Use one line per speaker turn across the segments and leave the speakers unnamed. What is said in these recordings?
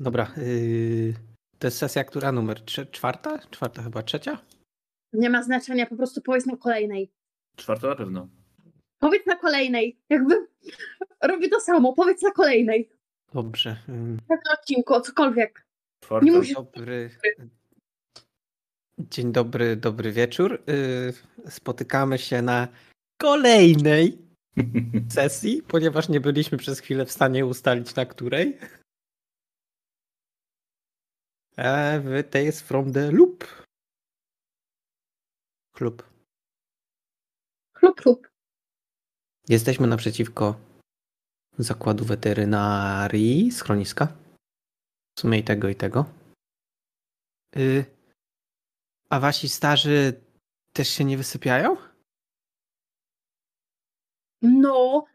Dobra. Yy, to jest sesja, która numer? Trze- czwarta? Czwarta chyba, trzecia?
Nie ma znaczenia, po prostu powiedz na kolejnej.
Czwarta na pewno.
Powiedz na kolejnej. Jakby robię to samo, powiedz na kolejnej.
Dobrze. ym,
Na tym odcinku, o cokolwiek.
Czwarta.
Nie musisz-
Dobry. Dzień dobry, dobry wieczór. Yy, spotykamy się na kolejnej sesji, ponieważ nie byliśmy przez chwilę w stanie ustalić na której. E, w- to jest from the loop. Klub.
Klub, klub.
Jesteśmy naprzeciwko zakładu weterynarii, schroniska. W sumie i tego, i tego. Y, a wasi starzy też się nie wysypiają?
No.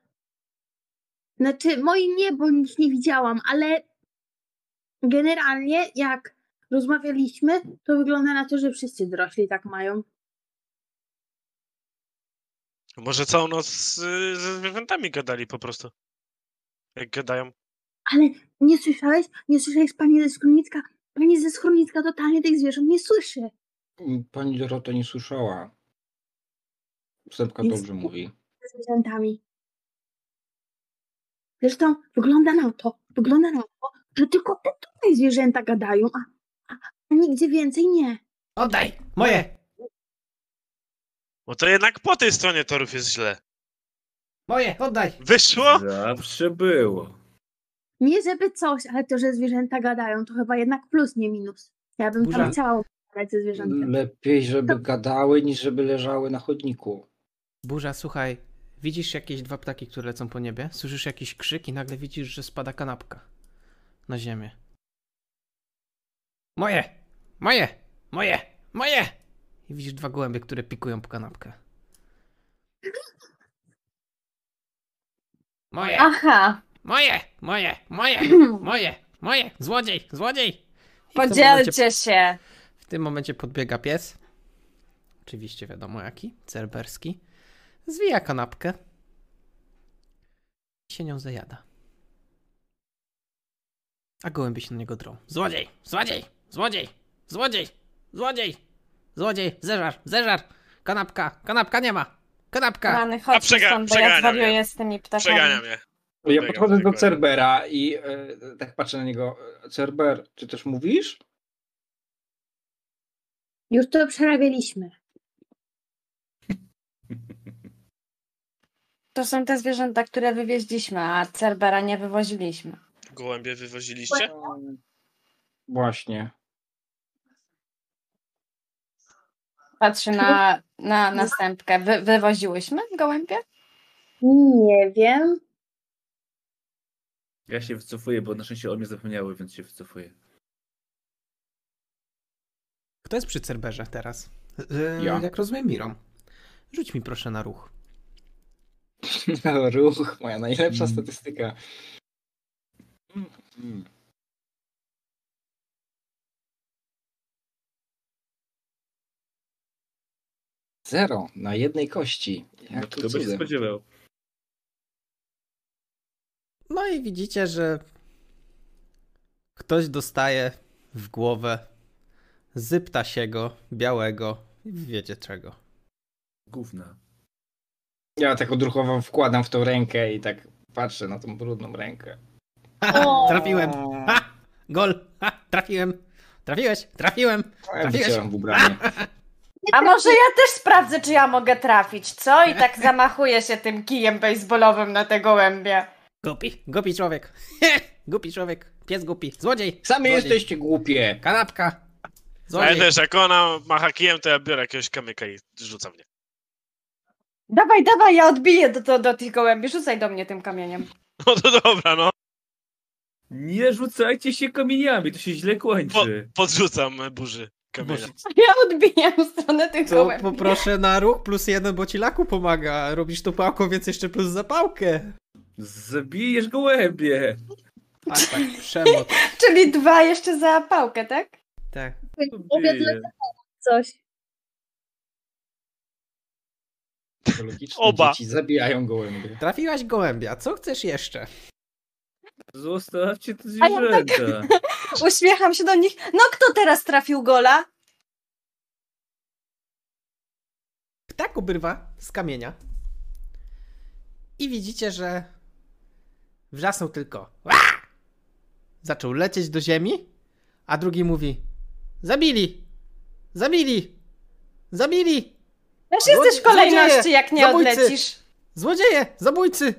Znaczy, moi nie, bo ich nie widziałam, ale generalnie jak rozmawialiśmy, to wygląda na to, że wszyscy dorośli tak mają.
Może całą noc z, ze zwierzętami gadali po prostu. Jak gadają.
Ale nie słyszałeś? Nie słyszałeś pani ze schroniska? Pani ze schroniska totalnie tych zwierząt nie słyszy.
Pani Dorota nie słyszała. Sępka
Więc-
dobrze mówi.
ze zwierzętami. Zresztą wygląda na to, wygląda na to, że tylko te tutaj zwierzęta gadają, a, a, a nigdzie więcej nie.
Oddaj! Moje!
Bo to jednak po tej stronie torów jest źle.
Moje! Oddaj!
Wyszło?
Tak, Zawsze było.
Nie żeby coś, ale to, że zwierzęta gadają, to chyba jednak plus, nie minus. Ja bym
Burza.
tam chciała gadać ze zwierzętami.
Lepiej, żeby gadały, niż żeby leżały na chodniku.
Burza, słuchaj, widzisz jakieś dwa ptaki, które lecą po niebie? Słyszysz jakiś krzyk i nagle widzisz, że spada kanapka na ziemię. Moje! Moje! Moje! Moje! I widzisz dwa gołębie, które pikują po kanapkę. Moje!
Aha,
Moje! Moje! Moje! Moje! Moje! Złodziej! Złodziej! I w tym momencie-
podzielcie się.
w tym momencie podbiega pies. Oczywiście wiadomo jaki, cerberski. Zwija kanapkę. I się nią zajada. A gołębie się na niego drą. Złodziej! Złodziej! Złodziej! Złodziej! Złodziej! Złodziej! Zeżar! Zeżar! Kanapka! Kanapka nie ma! Kanapka!
Rany,
A
chodź
przega-
stąd, bo ja
przeganiam
zwariuję
je.
z tymi ptakami.
Przeganiam je.
Ja
Biegam
podchodzę do
tylko.
Cerbera i e, tak patrzę na niego. Cerber, ty też mówisz?
Już to przerabialiśmy.
To są te zwierzęta, które wywieźliśmy, a Cerbera nie wywoziliśmy.
Gołębie
Tak.
wywoziliście?
Właśnie.
Patrzy na, na następkę. Wy, wywoziłyśmy gołębie?
Nie wiem.
Ja się wycofuję, bo na szczęście o mnie zapomniały, więc się wycofuję.
Kto jest przy cerberze teraz?
Ja.
Jak rozumiem, Mirom. Rzuć mi proszę na ruch.
Ruch, moja najlepsza
Mm.
statystyka. Mm. Zero na jednej kości.
No,
Jak
kto
to
by się
cudem.
spodziewał?
No i widzicie, że ktoś dostaje w głowę z ptasiego, białego i wiecie czego.
Gówna.
Ja tak odruchowo wkładam w tą rękę i tak patrzę na tą brudną rękę.
O!
Trafiłem! Ha! Gol! Ha! Trafiłem! Trafiłeś! Trafiłem!
Ja
Trafiłeś.
wyciąłem Tak w ubranie.
A może ja też sprawdzę, czy ja mogę trafić, co? I tak zamachuję się tym kijem baseballowym na te gołębie.
Głupi! Głupi człowiek! głupi człowiek! Pies głupi! Złodziej!
Sami
Złodziej.
jesteście głupie.
Kanapka!
Ale
Złodziej!
też jak ona macha kijem, to ja biorę jakiegoś kamyka i rzucam mnie.
Dawaj, dawaj, ja odbiję do, do, do tych gołębi. Rzucaj do mnie tym kamieniem.
No to dobra, no.
Nie rzucajcie się kamieniami, to się źle
Po,
kończy.
podrzucam burzy kamienia.
Ja odbijam w stronę tych
To
gołębi.
poproszę na ruch plus jeden, bo ci laku pomaga. Robisz to pałką, więc jeszcze plus zapałkę.
Zabijesz gołębie.
A tak, przemoc.
Czyli dwa jeszcze za pałkę, tak?
Tak.
Obiad
Bije.
lecę coś.
Logiczne
Oba.
Dzieci zabijają gołębie.
Trafiłaś gołębia, co chcesz jeszcze?
Zostawcie te
A ja tak-
zwierzęta.
Uśmiecham się do nich. No kto teraz trafił gola?
ptak obrywa z kamienia. I widzicie, że wrzasnął tylko. Ła! Zaczął lecieć do ziemi, a drugi mówi: Zabili! Zabili! Zabili!
Też jesteś w
Złodzie-
kolejności,
złodzieje,
jak nie
zabójcy.
odlecisz.
Złodzieje! Zabójcy!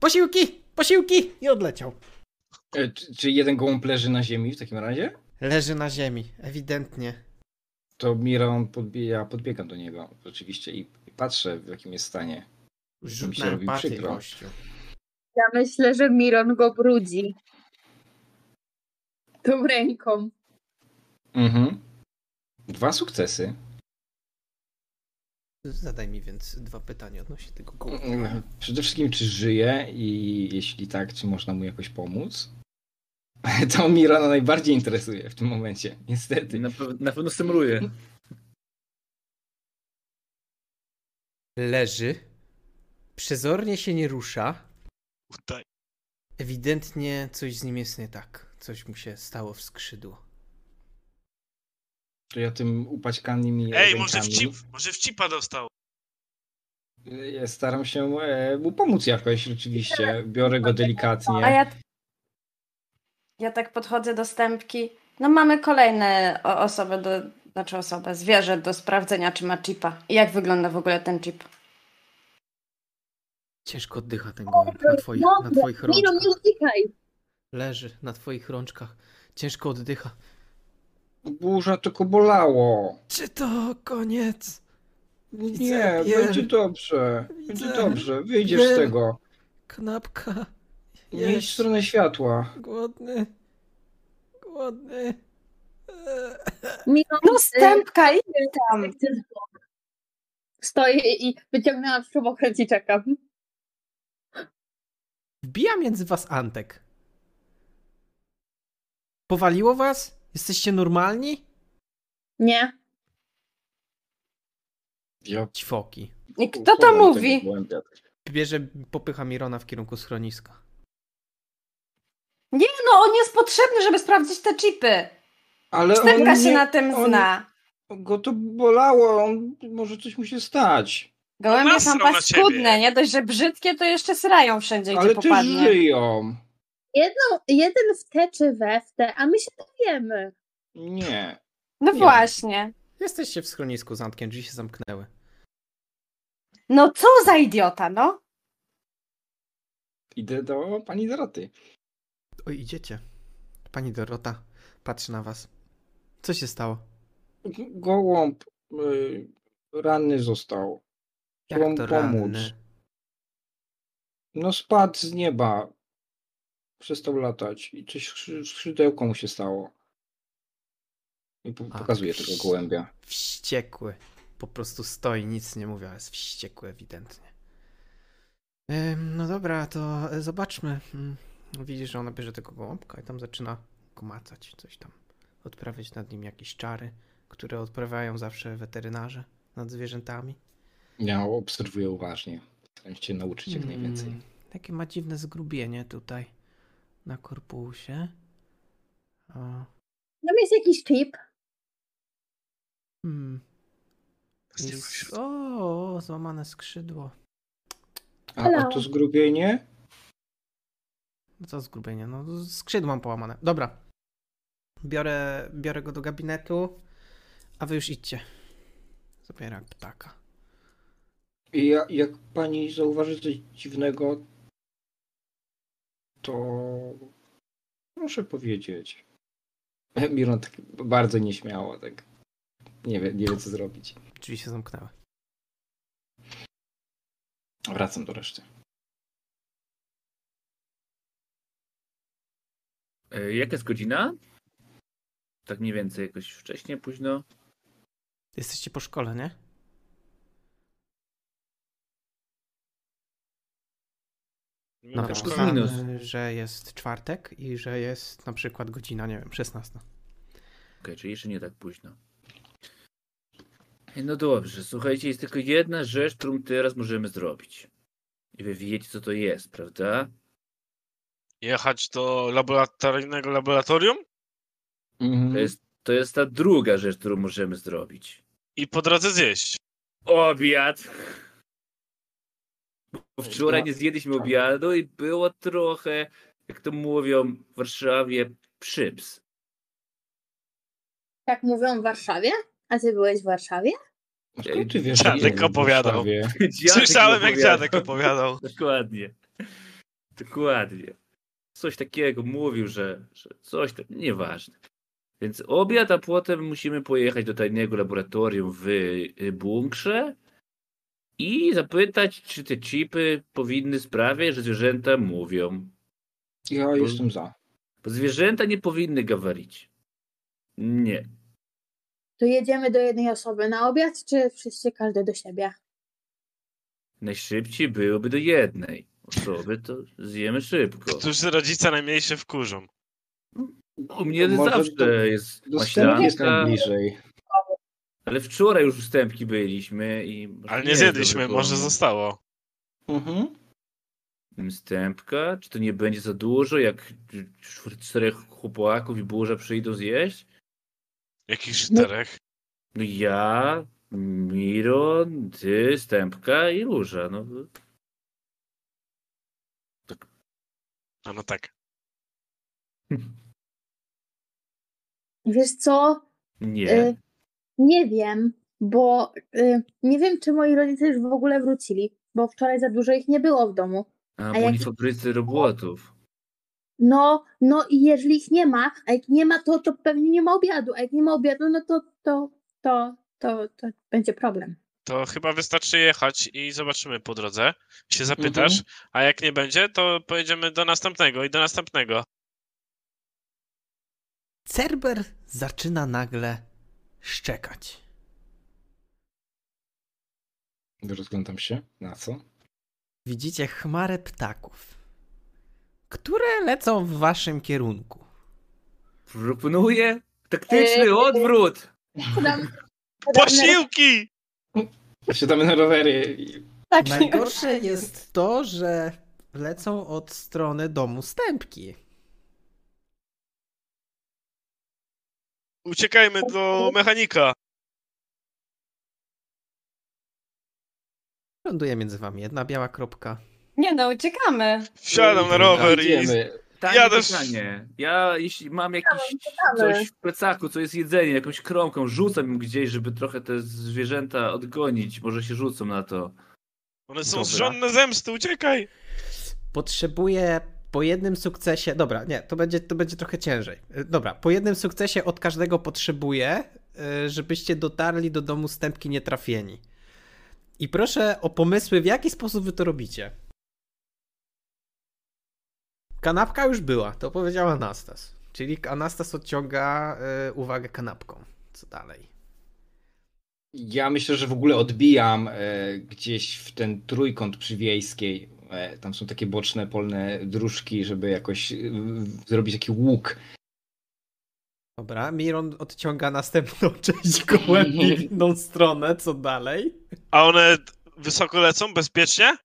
Posiłki! Posiłki! I odleciał.
E, Czy, czy jeden gołąb leży na ziemi w takim razie?
Leży na ziemi, ewidentnie.
To Miron podbija, podbiegam do niego rzeczywiście i i patrzę w jakim jest stanie.
Rzut
Mi się
na
robi
empatię,
przykro.
gościu.
Ja myślę, że Miron go brudzi. Tą ręką.
Mhm. Dwa sukcesy.
Zadaj mi więc dwa pytania odnośnie tego koła.
Mm, Przede wszystkim czy żyje i jeśli tak, czy można mu jakoś pomóc? To Mirona najbardziej interesuje w tym momencie, niestety.
Na, pew- na pewno symruje.
Leży, przezornie się nie rusza,
Udaj.
Ewidentnie coś z nim jest nie tak. Coś mu się stało w skrzydło.
To ja tym upaćkanymi
Ej, może w,
rękami-
chip, może w chipa dostał.
Ja staram się e, mu pomóc jakoś, rzeczywiście. Biorę go
A
delikatnie.
ja, ja tak podchodzę do stępki. No mamy kolejne o- osoby, do, znaczy osobę, zwierzę do sprawdzenia, czy ma chipa. I jak wygląda w ogóle ten chip?
Ciężko oddycha ten gołąb na twoich, na twoich
Miron, nie
rączkach.
uciekaj!
Leży na twoich rączkach. Ciężko oddycha.
Burza tylko bolało.
Czy to koniec?
Nie,
Widzę,
będzie
Pier-
dobrze. Będzie
Widzę.
dobrze, wyjdziesz z
Pier-
tego.
Knapka.
Nie idź w
Jest
stronę światła.
głodny. Głodny. Eee.
Miron, y,
No stępka, idź tam.
chcę Stoję i wyciągnęłam śrubokręt i czekam.
Wbija między was Antek. Powaliło was? Jesteście normalni?
Nie.
Ja
Ćwoki.
I kto to mówi?
Bierze, popycha Mirona w kierunku schroniska.
Nie no, on jest potrzebny, żeby sprawdzić te chipy.
Ale
Stępka
on
się
nie-
na tym
on-
zna.
Go to bolało, on, może coś mu się stać.
Gołębie są
Nasrał na ciebie.
paskudne, nie dość, że brzydkie, to jeszcze srają wszędzie, gdzie
Ale też
popadnie.
żyją.
Jedną, No, jeden w te czy we w te, a my się dowiemy.
Nie.
No
Ja.
właśnie.
Jesteście w schronisku z Antkiem, drzwi się zamknęły.
No co za idiota, no?
Idę do pani Doroty.
O, idziecie. Pani Dorota patrzy na was. Co się stało?
Gołąb y, ranny został.
Jak
Chciałam
to
pomóc.
ranny?
No spadł z nieba. Przestał latać i coś skrzy- skrzydełko mu się stało. I po,
A,
pokazuje
psz.
tego gołębia.
Wściekły. Po prostu stoi, nic nie mówi, ale jest wściekły ewidentnie. Ym, No dobra, to e, zobaczmy. Mm, Widzisz, że ona bierze tego gołąbka i tam zaczyna kumacać coś tam. Odprawiać nad nim jakieś czary, które odprawiają zawsze weterynarze nad zwierzętami.
Ja obserwuję uważnie. Staram się nauczyć jak najwięcej.
Mm, Takie ma dziwne zgrubienie tutaj na korpusie. A,
Tam jest jakiś chip.
hmm, jest, o, złamane skrzydło.
A, a
Hello.
to zgrubienie?
No Co zgrubienie? No skrzydło mam połamane. Dobra. Biorę, biorę go do gabinetu, a wy już idźcie. Zabieram ptaka.
I ja, jak pani zauważy coś dziwnego, to proszę powiedzieć. Miron tak bardzo nieśmiało, tak. Nie wie, nie wie co zrobić.
Drzwi się zamknęły.
Wracam do reszty.
E, Jaka jest godzina? Tak mniej więcej, jakoś wcześnie, późno.
Jesteście po szkole, nie?
Minutę
No,
plus
szkoły.
minus.
że jest czwartek i że jest na przykład godzina, nie wiem, 16.
Okej, czyli jeszcze nie tak późno. No dobrze, słuchajcie, jest tylko jedna rzecz, którą teraz możemy zrobić. I wy wiecie, co to jest, prawda?
Jechać do laboratoryjnego laboratorium
Mhm.
To jest, to jest ta druga rzecz, którą możemy zrobić.
i po drodze zjeść.
Obiad. Bo wczoraj nie zjedliśmy obiadu i było trochę, jak to mówią w Warszawie, przyps.
Tak mówią w Warszawie? A ty byłeś w Warszawie?
A Skąd ty wiesz?
Dziadek
że byłem w
opowiadał.
Warszawie?
Dziadek
Słyszałem, jak
opowiadał.
dziadek opowiadał.
Dokładnie. Dokładnie. Coś takiego mówił, że, że coś tam, nieważne. Więc obiad, a potem musimy pojechać do tajnego laboratorium w y, bunkrze i zapytać, czy te chipy powinny sprawiać, że zwierzęta mówią.
Ja jestem za.
Bo zwierzęta nie powinny gawarić. Nie.
To jedziemy do jednej osoby na obiad, czy wszyscy każdy do siebie?
Najszybciej byłoby do jednej osoby, to zjemy szybko.
Którzy rodzice najmniej się wkurzą.
U mnie
Może do-
zawsze jest
Dostęp jest
maślanka,
najbliżej.
Ale wczoraj już ustępki byliśmy i. może
Ale
nie
nie
jest
zjedliśmy,
dobry
może
pomysł.
zostało.
Mhm.
Ustępka? Czy to nie będzie za dużo, jak czwór- czterech chłopaków i burza przyjdą zjeść?
Jakichś
No.
czterech.
No ja, Miron, ty, stępka i róża. No.
A no tak.
Wiesz co?
Nie.
Y, nie wiem, bo y, nie wiem, czy moi rodzice już w ogóle wrócili, bo wczoraj za dużo ich nie było w domu.
A
jak-
bo oni fabrycy robotów.
No, no i jeżeli ich nie ma, a jak nie ma, to, to pewnie nie ma obiadu, a jak nie ma obiadu, no to, to, to, to, to będzie problem.
To chyba wystarczy jechać i zobaczymy po drodze. Się zapytasz, a jak nie będzie, to pojedziemy do następnego i do następnego.
Cerber zaczyna nagle szczekać.
Rozglądam się. Na co?
Widzicie chmarę ptaków, które lecą w waszym kierunku.
Proponuję taktyczny
Y,
odwrót!
Podam- podam
Posiłki!
Siadamy na rowery. i-
Tak,
Najgorsze jest to, że lecą od strony domu stępki.
Uciekajmy do mechanika.
Ląduje między wami jedna biała kropka.
Nie no, uciekamy.
Wsiadam na rower i
Idziemy.
Tak,
Ja
ja
też-
pytanie. Ja jeśli mam jakieś
ciekawe.
coś w plecaku, co jest jedzenie, jakąś kromką, rzucam im gdzieś, żeby trochę te zwierzęta odgonić. Może się rzucą na to.
One są
Dobra.
zżądne zemsty, uciekaj!
Potrzebuje po jednym sukcesie. Dobra, nie, to będzie, to będzie trochę ciężej. Y, Dobra, po jednym sukcesie od każdego potrzebuje, y, żebyście dotarli do domu stępki nietrafieni. I proszę o pomysły, w jaki sposób wy to robicie. Kanapka już była, to powiedział Anastas. Czyli Anastas odciąga y, uwagę kanapką. Co dalej?
Ja myślę, że w ogóle odbijam e, gdzieś w ten trójkąt przywiejskiej. E, tam są takie boczne, polne dróżki, żeby jakoś e, w- zrobić taki łuk.
Dobra, Miron odciąga następną część gołębi w inną stronę. Co dalej?
A one wysoko lecą, bezpiecznie?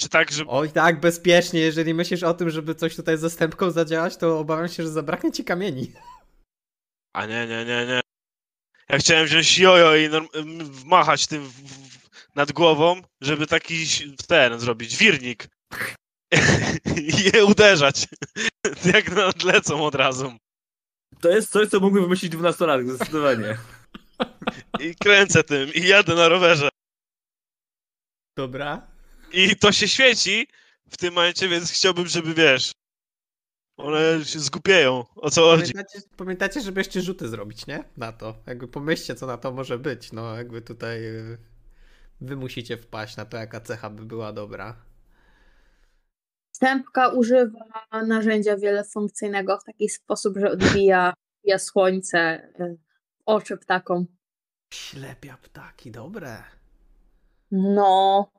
Czy tak, że
Oj, tak, bezpiecznie. Jeżeli myślisz o tym, żeby coś tutaj z zastępką zadziałać, to obawiam się, że zabraknie ci kamieni.
A nie, nie, nie, nie. Ja chciałem wziąć jojo i norm- m- machać tym w- w- nad głową, żeby taki ś- ten zrobić, wirnik. I je uderzać. Jak nadlecą od razu.
To jest coś, co mógłbym wymyślić 12-latek, zdecydowanie.
I kręcę tym, i jadę na rowerze.
Dobra.
I to się świeci w tym momencie, więc chciałbym, żeby wiesz. One się zgupieją, o co chodzi.
Pamiętacie, pamiętacie, żeby jeszcze rzuty zrobić, nie? Na to. Jakby pomyślcie, co na to może być. No, jakby tutaj y, wy musicie wpaść na to, jaka cecha by była dobra.
Stępka używa narzędzia wielofunkcyjnego w taki sposób, że odbija, odbija słońce y, w oczy ptakom.
Ślepia ptaki, dobre.
No,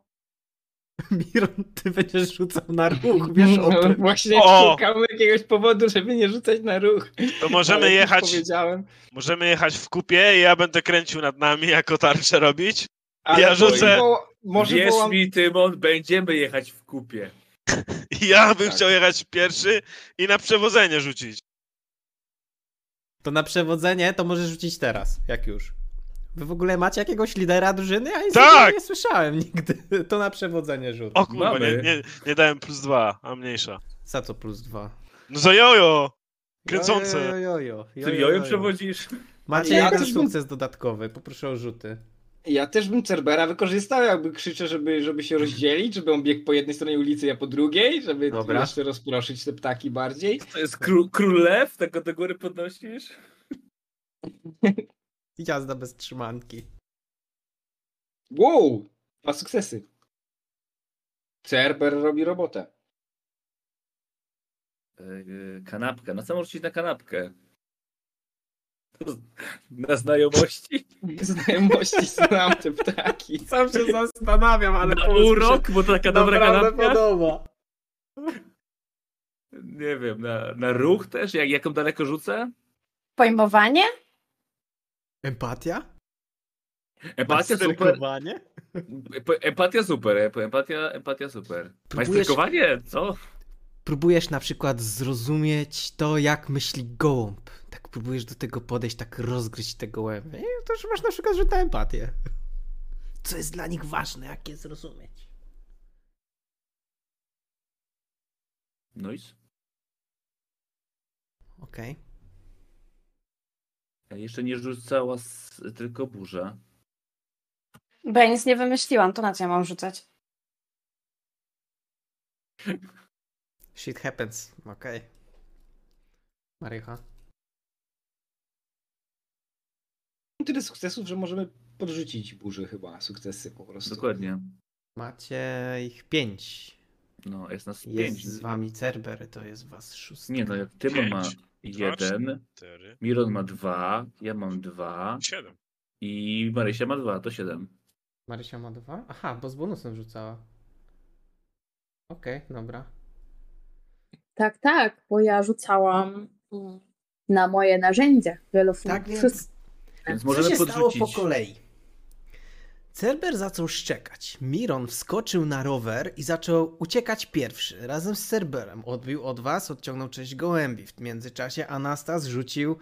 Miron, ty będziesz rzucał na ruch, wiesz o tym.
Właśnie
O!
szukamy jakiegoś powodu, żeby nie rzucać na ruch.
To
Ale
możemy
już
jechać,
Powiedziałem.
możemy jechać w kupie i ja będę kręcił nad nami jako tarczę robić. Ja rzucę-
Bo, może
Wierz
wołam
mi, Tymon, będziemy jechać w kupie.
Ja bym
Tak.
chciał jechać pierwszy i na przewodzenie rzucić.
To na przewodzenie to możesz rzucić teraz, jak już. Wy w ogóle macie jakiegoś lidera drużyny? Ja nic
Tak!
takiego nie słyszałem nigdy. To na przewodzenie rzut.
O kurwa,
Mamy.
nie, nie, nie dałem plus dwa, a mniejsza.
Za to plus dwa.
No za jojo! Kręcące.
Jo, jo, jo, jo, jo,
Ty
jo,
jojem
jo.
przewodzisz?
Macie
Ja
jeden
też bym-
sukces dodatkowy, poproszę o rzuty.
Ja też bym Cerbera wykorzystał, jakby krzyczę, żeby, żeby się rozdzielić, żeby on biegł po jednej stronie ulicy, ja po drugiej, żeby
Dobra.
jeszcze rozproszyć te ptaki bardziej.
To jest kró- król lew? Tak go do góry podnosisz?
Jazda bez trzymanki.
Wow! Dwa sukcesy. Cerber robi robotę.
Yy, Kanapka. Na co możesz iść na kanapkę? To- Na znajomości?
Znajomości znam te ptaki.
Sam się zastanawiam, ale
Na urok? Bo to taka dobra kanapka?
podoba.
Nie wiem, na, na ruch też? Jak, jaką daleko rzucę?
Pojmowanie?
Empatia?
Empatia super.
Masterkowanie?
Ep- Empatia super. ep- Empatia, empatia super.
Próbujesz-
Majsterkowanie? Co?
Próbujesz na przykład zrozumieć to, jak myśli gołąb. Tak próbujesz do tego podejść, tak rozgryźć tego łeb. I to już masz na przykład rzut na empatię. Co jest dla nich ważne, jak je zrozumieć.
No i s-
Okej.
jeszcze nie rzucała s- tylko burza.
Bo ja nic nie wymyśliłam, to na co ja mam rzucać?
Shit happens. Okej. Okay. Marycha.
Tyle sukcesów, że możemy podrzucić burzy chyba sukcesy po prostu.
Dokładnie.
Macie ich pięć.
No, jest nas
Jest
pięć.
z wami Cerber, to jest was szóstka.
Nie no, jak Tymon ma
Pięć.
Eee, jeden,
Cztery,
Miron ma dwa, ja mam dwa
siedem.
i Marysia ma dwa, to siedem.
Marysia ma dwa? Aha, bo z bonusem rzucała. Okej, dobra.
Tak, tak, bo ja rzucałam mm, na moje narzędzia
Tak,
wielofunkcyjne.
więc-
Więc
Co
możemy
się
podrzucić.
stało po kolei? Cerber zaczął szczekać. Miron wskoczył na rower i zaczął uciekać pierwszy, razem z Cerberem. Odbił od was, odciągnął część gołębi. W międzyczasie Anastas rzucił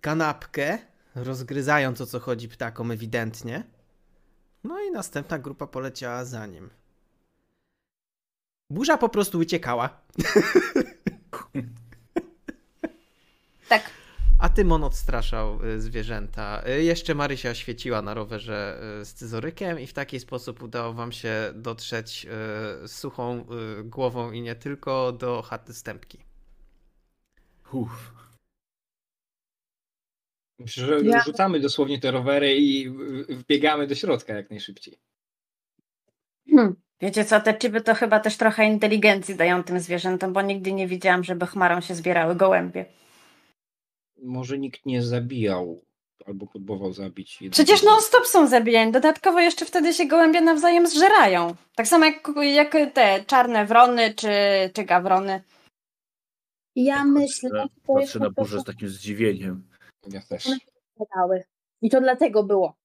kanapkę, rozgryzając o co chodzi ptakom ewidentnie. No i następna grupa poleciała za nim. Burza po prostu uciekała,
Tak,
a Tymon odstraszał y, zwierzęta. Y, Jeszcze Marysia świeciła na rowerze y, z scyzorykiem i w taki sposób udało wam się dotrzeć y, z suchą y, głową i nie tylko do chaty stępki.
Uff.
Myślę, że
Ja-
rzucamy dosłownie te rowery i w- wbiegamy do środka jak najszybciej.
Hmm.
wiecie co, te chiby to chyba też trochę inteligencji dają tym zwierzętom, bo nigdy nie widziałam, żeby chmarą się zbierały gołębie.
Może nikt nie zabijał albo próbował zabić. jednego
Przecież no,
z nich.
non-stop są zabijani, dodatkowo jeszcze wtedy się gołębie nawzajem zżerają. Tak samo jak, jak te czarne wrony czy, czy gawrony.
Ja myślę, że to jest
tak Patrzę na
po
burzę
prostu
z takim zdziwieniem.
Ja też.
pedały. I to dlatego było.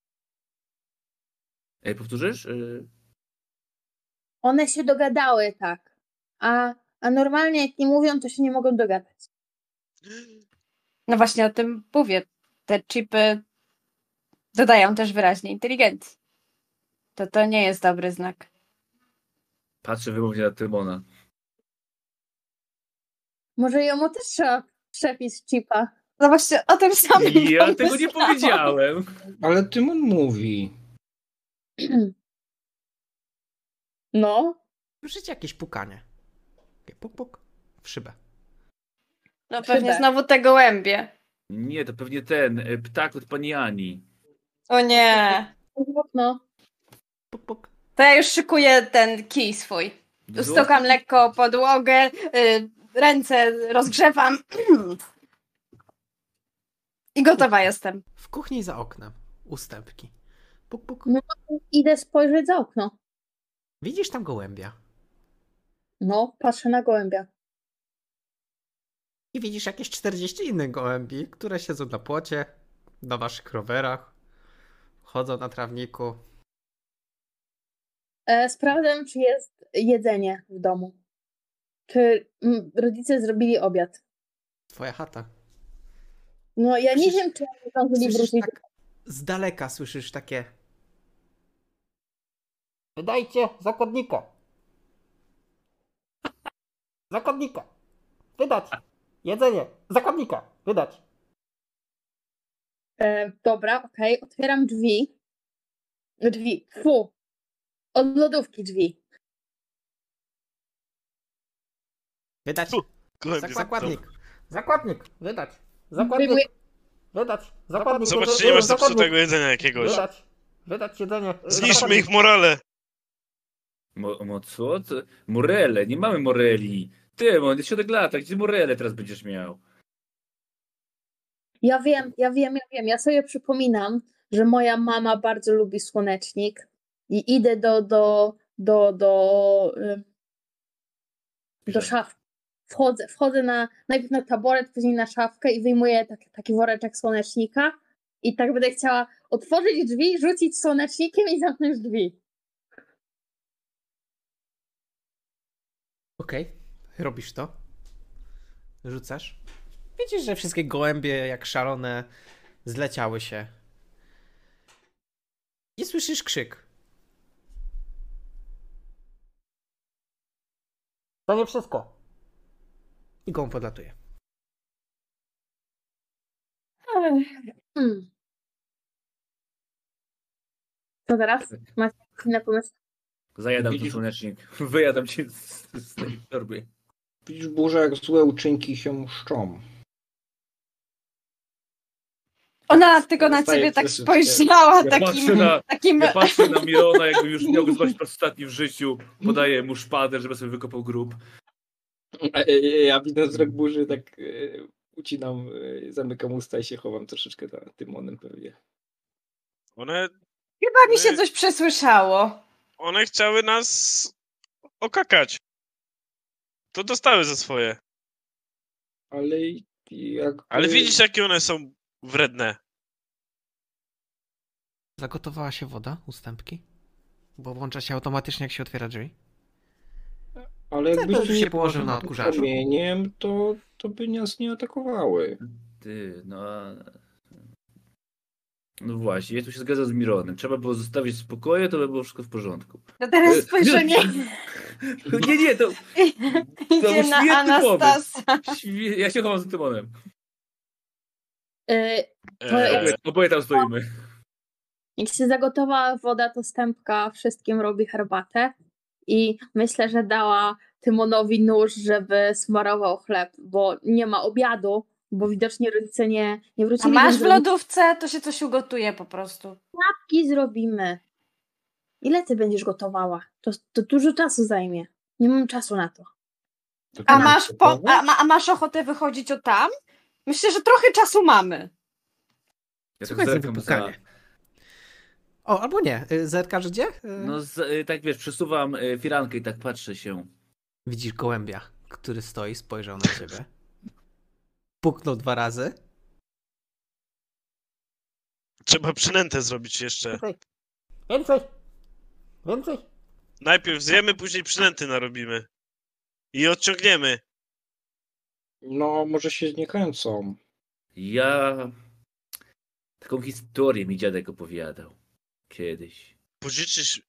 Ej, powtórzysz? Y,
One się dogadały tak. A, a normalnie jak nie mówią, to się nie mogą dogadać.
No właśnie o tym mówię. Te chipy dodają też wyraźnie inteligencji. To to nie jest dobry znak.
Patrzę wymownie na Tymona.
Może jemu też trzeba przepić chipa.
No właśnie o tym samym
Ja tego
pomyślałam.
nie powiedziałem.
Ale Tymon mówi.
No,
Słyszycie jakieś pukanie. Takie Puk, puk. W szybę.
No
Szybę.
pewnie znowu te gołębie.
Nie, to pewnie ten y, ptak od pani Ani.
O nie.
okno.
Puk, puk.
To ja już szykuję ten kij swój. Ustukam lekko podłogę, y, ręce rozgrzewam. I gotowa jestem.
W kuchni za oknem. Ustępki. Puk, puk.
No. Idę spojrzeć za okno.
Widzisz tam gołębia.
No, patrzę na gołębia.
I widzisz jakieś 40 innych gołębi, które siedzą na płocie, na waszych rowerach, chodzą na trawniku.
E, sprawdzam, czy jest jedzenie w domu. Czy mm, rodzice zrobili obiad?
Twoja chata.
No ja nie
Przecież-
wiem, czy oni zdążyli
Słyszysz
wrócić.
tak z daleka słyszysz takie.
Wydajcie zakładnika. Zakładnika. Wydać. Jedzenie. Zakładnika. Wydać.
E, dobra, okej, otwieram drzwi. Drzwi, fu. Od lodówki drzwi.
Wydać
Tu, Gołębie
zakładnik.
Zakładnik. Wydać. Zakładnik.
Wyjmuję-
Wydać. Zakładnik.
Zobaczcie, nie masz
Zakładnik.
zepsutego jedzenia jakiegoś.
Wydać. Wydać jedzenie.
Zniszczmy
Zakładnik.
ich morale.
Mo, mo co? Co? Morele, nie mamy moreli. Ty, on jest środek lata, gdzie morele teraz będziesz miał?
Ja wiem, ja wiem, ja wiem. Ja sobie przypominam, że moja mama bardzo lubi słonecznik i idę do, do, do, do, y, do szafki. Wchodzę, wchodzę na, najpierw na taboret, później na szafkę i wyjmuję tak, taki woreczek słonecznika i tak będę chciała otworzyć drzwi, rzucić słonecznikiem i zamknąć drzwi.
Okej, robisz to. Rzucasz. Widzisz, że wszystkie gołębie, jak szalone, zleciały się. I słyszysz krzyk.
To nie wszystko.
I gołąb podlatuje.
Hmm. Co teraz? Macie inne pomysły?
Zajadam tu
Widzisz-
słonecznik. Wyjadam cię z, z tej torby.
Widzisz, Burza, jak złe uczynki się mszczą.
Ona tylko na
Zostaje
ciebie tak
troszeczkę-
spojrzała
Ja
Patrzę
takim...
na,
takim...
No.
ja patrzę na Mirona, jakby już miał go zobaczyć po raz ostatni w życiu. Podaję mu szpadę, żeby sobie wykopał grób.
E, e, e, Ja widzę wzrok Burzy, tak e, ucinam, e, zamykam usta i się chowam troszeczkę za Tymonem pewnie.
One,
Chyba mi się coś przesłyszało.
one chciały nas okakać. To dostały za swoje.
Ale i- i jak...
Eee.
Ale widzisz, jakie one są wredne.
Zagotowała się woda, ustępki? Bo włącza się automatycznie, jak się otwiera drzwi.
Ale jakbyś
Cepel
tu
się
nie
położył na
położył
odkurzaczu.
Kamieniem, to, to by nas nie atakowały.
Ty, no a... No właśnie, ja tu się zgadzam z Mironem. Trzeba było zostawić spokoje, to by było wszystko w porządku.
To
Y,
teraz spojrzenie
Nie, nie, to... To
idzie
był
na
świetny
Anastasa.
Świe- Ja się chowam za Tymonem.
Y,
No,
Eee,
Oboje tam stoimy.
Jak się zagotowała woda, to stępka wszystkim robi herbatę i myślę, że dała Tymonowi nóż, żeby smarował chleb, bo nie ma obiadu, bo widocznie rodzice nie, nie
A
wrócili.
masz w
więc
lodówce, to się coś ugotuje po prostu.
Kanapki zrobimy. Ile ty będziesz gotowała? To, to dużo czasu zajmie. Nie mam czasu na to.
To
A
ty nam
masz, po,
atakowały?
a, ma- a masz ochotę wychodzić o tam? Myślę, że trochę czasu mamy.
Ja
Słuchaj,
zerkam za-
wypukanie. O, albo nie. Y, Zerkasz gdzie? Y,
No z, y, tak wiesz, przesuwam y, firankę i tak patrzę się.
Widzisz gołębia, który stoi, spojrzał na ciebie. Puknął dwa razy.
trzeba przynętę zrobić jeszcze.
Okej. Więcej. Więcej.
Najpierw zjemy, później przynęty narobimy. I odciągniemy.
No, może się nie kręcą.
Ja... Taką historię mi dziadek opowiadał. Kiedyś.
Pożyczysz...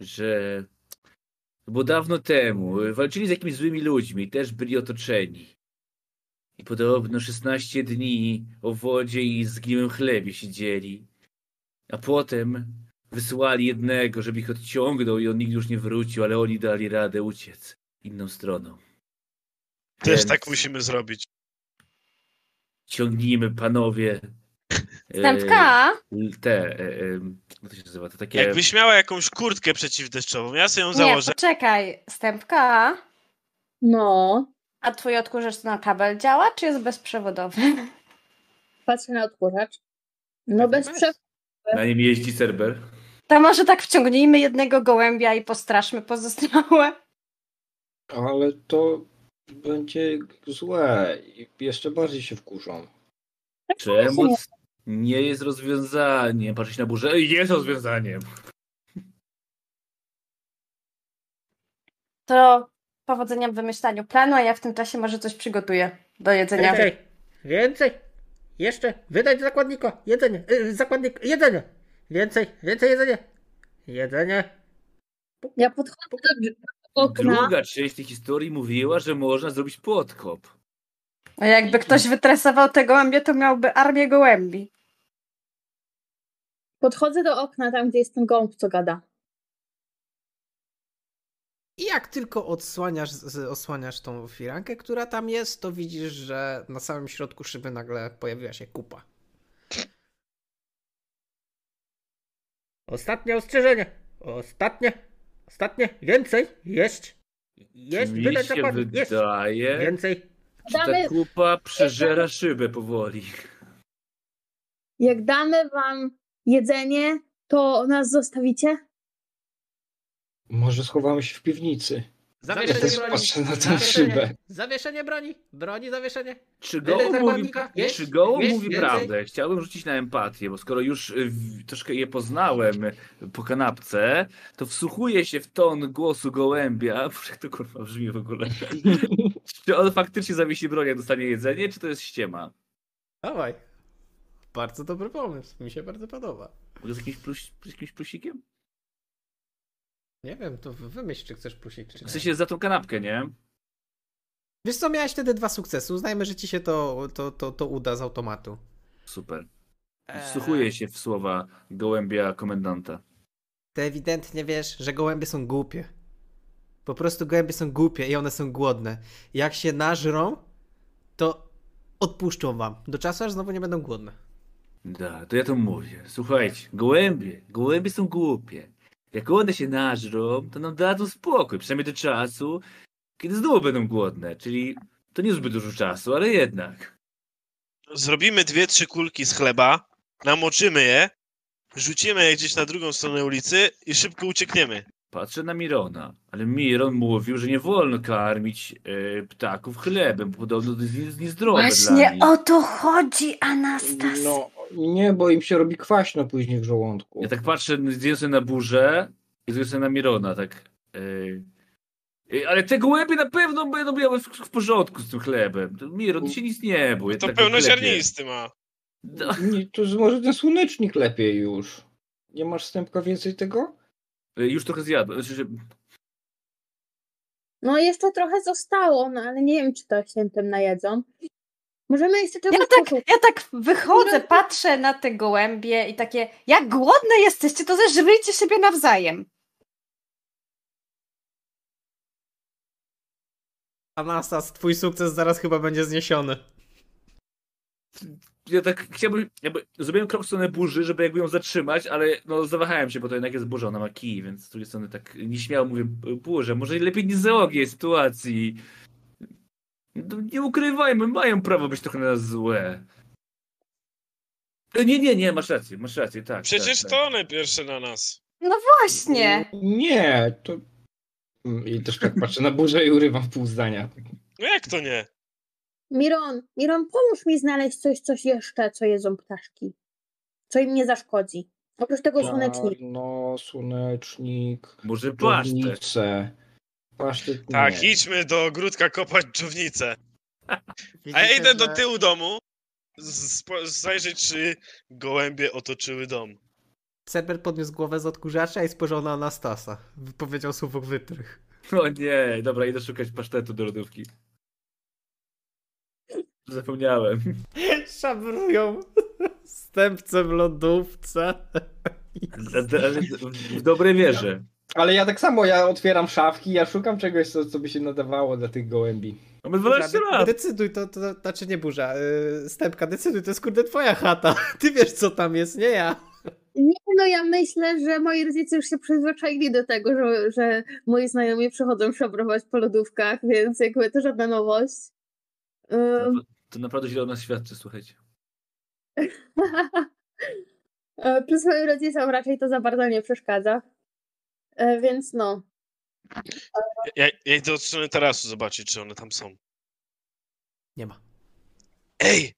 że bo dawno temu y, walczyli z jakimiś złymi ludźmi, też byli otoczeni. I podobno 16 dni o wodzie i zgniłym chlebie siedzieli. A potem wysłali jednego, żeby ich odciągnął i on nigdy już nie wrócił, ale oni dali radę uciec inną stroną.
Też
Więc
tak musimy zrobić.
Ciągnijmy panowie. e,
Stępka,
l- Te, e, e, jak to się nazywa, to takie...
Jakbyś miała jakąś kurtkę przeciwdeszczową, ja sobie ją
nie,
założę.
poczekaj. Stępka,
No,
a twój odkurzacz na kabel działa, czy jest bezprzewodowy?
patrzę na odkurzacz. No bez prze...
Na nim jeździ serwer.
To może tak wciągnijmy jednego gołębia i postraszmy pozostałe.
Ale to będzie złe i jeszcze bardziej się wkurzą.
Przemoc nie jest rozwiązaniem. Patrzeć na burzę Ej, jest rozwiązaniem.
To
Powodzenia w wymyślaniu planu, a ja w tym czasie może coś przygotuję do jedzenia.
Tak,
Więcej! Więcej! Jeszcze! Wydać zakładnika! Jedzenie! Yy, zakładnik! Jedzenie! Więcej! Więcej jedzenie! Jedzenie!
Ja podchodzę do drzwi- do okna.
Druga część tej historii mówiła, że można zrobić podkop.
A jakby ktoś wytresował te gołębie, to miałby armię gołębi.
Podchodzę do okna, tam gdzie jest ten gołąb, co gada.
I jak tylko odsłaniasz, z- osłaniasz tą firankę, która tam jest, to widzisz, że na samym środku szyby nagle pojawiła się kupa.
Ostatnie ostrzeżenie! Ostatnie! Ostatnie! Więcej! Jeść! Jeść!
Mi
Wydać
się
zakładnik! Jeść!
wydaje,
Więcej!
że ta
Damy-
kupa przeżera szybę powoli.
Jak damy wam jedzenie, to nas zostawicie?
Może schowamy się w piwnicy. Ja
Zawieszenie
też
broni!
patrzę na tę szybę.
Zawieszenie, zawieszenie broni! Broni zawieszenie!
Czy Gołą
Tyle
mówi,
zakładnika? Jest?
czy Gołą
Jest?
mówi
Więcej?
prawdę? Chciałbym rzucić na empatię, bo skoro już y, w- troszkę je poznałem y, po kanapce, to wsłuchuję się w ton głosu gołębia. Boże, Jak to kurwa brzmi w ogóle? czy on faktycznie zawiesi broń, jak dostanie jedzenie, czy to jest ściema?
Dawaj. Bardzo dobry pomysł, mi się bardzo podoba.
Mogę z jakimś, plus, z jakimś plusikiem?
Nie wiem, to wy- wymyśl, czy chcesz plusik, czy
W
nie.
sensie za tą kanapkę, nie?
Wiesz co, miałeś wtedy dwa sukcesy, uznajmy, że ci się to, to, to, to uda z automatu.
Super.
Eee.
Wsłuchuję się w słowa gołębia komendanta.
Ty ewidentnie wiesz, że gołębie są głupie. Po prostu gołębie są głupie i one są głodne. Jak się nażrą, to odpuszczą wam. Do czasu, aż znowu nie będą głodne.
Da, to ja to mówię. Słuchajcie, gołębie, gołębie są głupie. Jak one się nażrą, to nam dadzą spokój, przynajmniej do czasu, kiedy znowu będą głodne. Czyli to nie zbyt dużo czasu, ale jednak.
Zrobimy dwie, trzy kulki z chleba, namoczymy je, rzucimy je gdzieś na drugą stronę ulicy i szybko uciekniemy.
Patrzę na Mirona, ale Miron mówił, że nie wolno karmić e, ptaków chlebem, bo podobno to jest nie- niezdrowe dla
Właśnie
nich.
o to chodzi, Anastas.
No, nie, bo im się robi kwaśno później w żołądku.
Ja tak patrzę, zdjęłem sobie na burzę i zdjęłem sobie na Mirona, tak. Yy. Yy, Ale te gołębie na pewno będą miały w, w porządku z tym chlebem. To Miron, ty się nic nie bój.
To
tak
pełnoziarnisty ma.
No,
Nie, to z- może ten słonecznik lepiej już. Nie masz stępka więcej tego?
yy, już trochę zjadłem. Znaczy, że
No jeszcze trochę zostało, no ale nie wiem, czy to się tym najedzą. Możemy jeszcze
Ja
czegoś
tak,
posłuchać.
ja tak wychodzę, patrzę na te gołębie i takie, jak głodne jesteście, to zeżryjcie siebie nawzajem.
Anastas, twój sukces zaraz chyba będzie zniesiony.
ja tak chciałbym. Jakby, zrobiłem krok w stronę burzy, żeby jakby ją zatrzymać, ale no, zawahałem się, bo to jednak jest burza, ona ma kij, więc z drugiej strony tak nieśmiało mówię, burze, może lepiej nie załogię sytuacji. No, Nie ukrywajmy, mają prawo być trochę na nas złe. E, Nie, nie, nie, masz rację, masz rację, tak.
Przecież
tak,
to one pierwsze na nas.
Właśnie.
Nie, to... Mm, I też tak patrzę na burzę i urywam pół zdania.
No jak to nie?
Miron, Miron, pomóż mi znaleźć coś, coś jeszcze, co jedzą ptaszki. Co im nie zaszkodzi. Oprócz tego
Tak.
słonecznika.
Czarno, No, słonecznik,
Tak. Może paszczę.
czarnice. Pasztet nie.
Tak, idźmy do ogródka kopać dżownicę. A ja idę do tyłu domu, z- spo- zajrzeć, czy gołębie otoczyły dom.
Cerber podniósł głowę z odkurzacza i spojrzał na Anastasa. Powiedział słowo wytrych.
O nie, dobra, idę szukać pasztetu do lodówki. Zapomniałem.
Szabrują stępcem w lodówce.
Ale- ale W dobrej wierze.
Ale ja tak samo, ja otwieram szafki, ja szukam czegoś, co, co by się nadawało dla tych gołębi.
Mamy 12 lat.
Decyduj, to, to, to znaczy nie burza, yy, stępka, decyduj, to jest kurde twoja chata. Ty wiesz co tam jest, nie ja.
Nie, no ja myślę, że moi rodzice już się przyzwyczaili do tego, że, że moi znajomi przychodzą szabrować po lodówkach, więc jakby to żadna nowość. Ym,
To naprawdę źle o nas świadczy, słuchajcie.
E, Przy swoim rodzicom raczej to za bardzo nie przeszkadza. E, Więc no.
Ja, ja idę od strony tarasu zobaczyć, czy one tam są.
Nie ma.
Ej!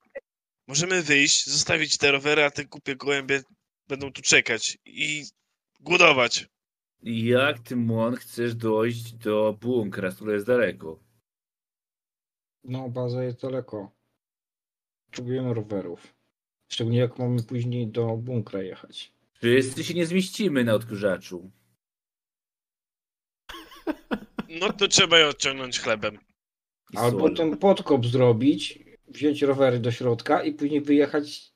Możemy wyjść, zostawić te rowery, a te kupie gołębie będą tu czekać i głodować.
Jak ty, Mon, chcesz dojść do bunkra, który jest daleko?
No, baza jest daleko. Potrzebujemy rowerów. Szczególnie jak mamy później do bunkra jechać.
Wszyscy się nie zmieścimy na odkurzaczu.
No to trzeba je odciągnąć chlebem.
I
Albo
sól.
ten podkop zrobić, wziąć rowery do środka i później wyjechać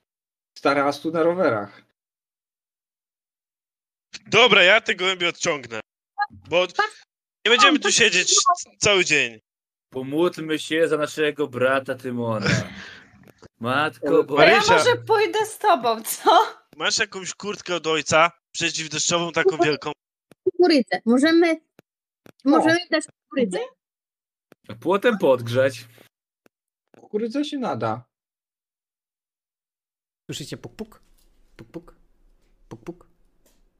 z tarasu na rowerach.
Dobra, ja te gołębie odciągnę. Bo nie będziemy tu siedzieć cały dzień.
Pomódlmy się za naszego brata Tymona. Matko, bo...
Marysia,
Ja może pójdę z tobą, co?
masz jakąś kurtkę od ojca przeciwdeszczową, taką wielką?
Kukurydzę. Możemy, możemy dać kukurydzę.
A Płotem podgrzać.
Kukurydza się nada.
Słyszycie puk puk? Puk puk? Puk puk?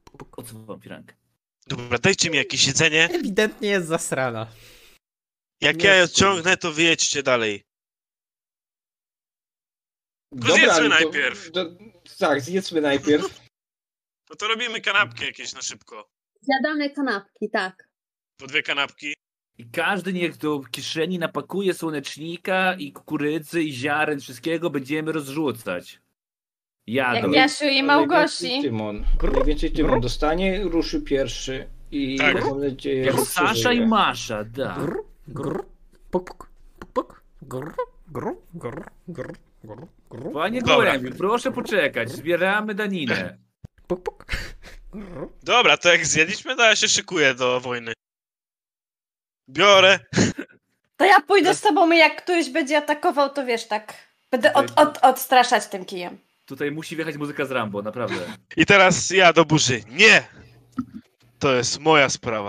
Puk puk?
Odsuwam firankę.
Dobra, dajcie mi jakieś jedzenie.
Ewidentnie jest zasrana.
Jak
Nie.
ja je odciągnę, to wyjedźcie dalej. zjedzmy
ale
najpierw.
To, tak, zjedzmy najpierw.
No to robimy kanapki jakieś na szybko.
Zjadane kanapki, tak.
Po dwie kanapki.
I każdy niech do kieszeni napakuje słonecznika i kukurydzy i ziaren, wszystkiego będziemy rozrzucać. Jadą.
Jak Jasiu
Najwięcej
i Małgosi.
Tymon. Najwięcej Tymon dostanie, ruszy pierwszy i
Tak.
mam nadzieję,
Jak
że
Sasza i
przeżyje.
Masza, da.
Grr, grr, puk puk? Puk puk? Grr, grr, grr, grr, grr, grr.
Panie
Dobra.
Gołębiu, proszę poczekać, zbieramy daninę.
Puk puk? Grr.
Dobra, to jak zjedliśmy, to ja się szykuję do wojny. Biorę.
To ja pójdę z tobą i jak któryś będzie atakował, to wiesz, tak. Będę od, od, odstraszać tym kijem.
Tutaj musi wjechać muzyka z Rambo, naprawdę.
I teraz ja do burzy. Nie! To jest moja sprawa.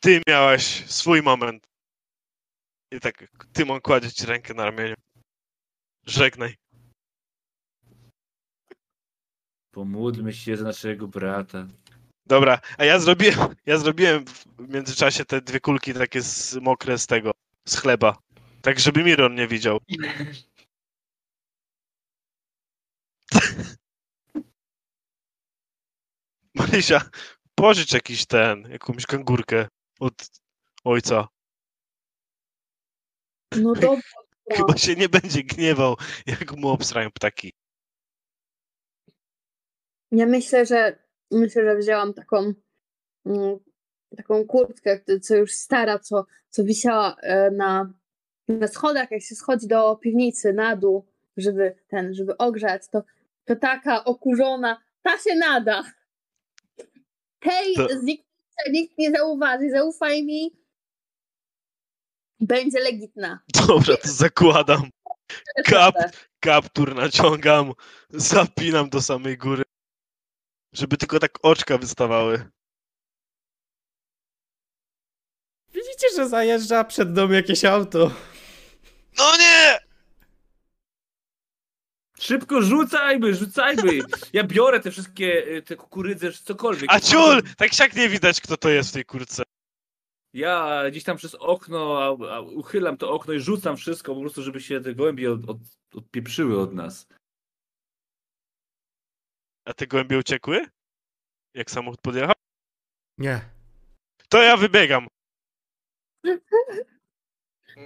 Ty miałaś swój moment. I tak Tymon kładzie ci rękę na ramieniu. Żegnaj.
Pomódlmy się za naszego brata.
Dobra, a ja zrobiłem, ja zrobiłem w międzyczasie te dwie kulki takie z, mokre z tego, z chleba. Tak, żeby Miron nie widział. Marysia, pożycz jakiś ten, jakąś kangurkę od ojca.
No dobra.
Chyba się nie będzie gniewał, jak mu obsrają ptaki.
Ja myślę, że myślę, że wzięłam taką mm, taką kurtkę, k- co już stara, co, co wisiała e, na, na schodach, jak się schodzi do piwnicy na dół, żeby ten, żeby ogrzać, to, to taka okurzona, ta się nada. Tej
To-
zniknące nikt nie zauważy, zaufaj mi. Będzie legitna.
Dobra, to zakładam. Kap, kaptur naciągam, zapinam do samej góry, żeby tylko tak oczka wystawały.
Widzicie, że zajeżdża przed dom jakieś auto.
No nie!
Szybko rzucajmy, rzucajmy! Ja biorę te wszystkie y, te kukurydze, cokolwiek.
A ciul! Tak siak nie widać, kto to jest w tej kurce.
Ja gdzieś tam przez okno, a, a uchylam to okno i rzucam wszystko po prostu, żeby się te gołębie od, od, odpieprzyły od nas.
A te gołębie uciekły? Jak samochód podjechał?
Nie.
To ja wybiegam.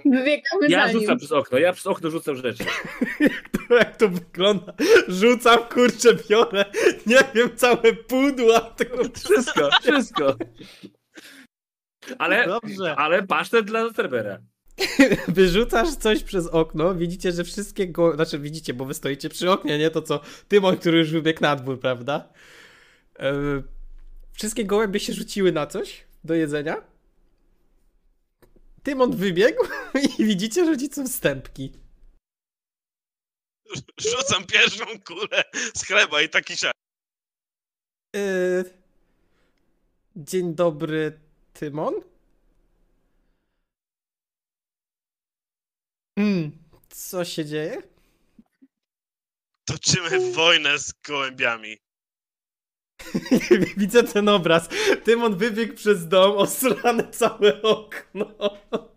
Wybiegamy
Ja
za nim.
rzucam przez okno, ja przez okno rzucam rzeczy.
Jak to, jak to wygląda? Rzucam, kurczę, biorę, nie wiem, całe pudła. Tego...
Wszystko, wszystko.
No.
Ale,
Dobrze.
ale pasztet dla Cerbera.
Wyrzucasz coś przez okno, widzicie, że wszystkie go... Znaczy widzicie, bo wy stoicie przy oknie, nie to co Tymon, który już wybiegł na dwór, prawda? Yy, wszystkie gołębie się rzuciły na coś do jedzenia. Tymon wybiegł i widzicie, że ci są wstępki.
Rzucam pierwszą kulę z chleba i taki siak.
Yy, dzień dobry, Tymon. Mm, co się dzieje?
Toczymy wojnę z gołębiami.
Widzę ten obraz. Tymon wybiegł przez dom, osrane całe okno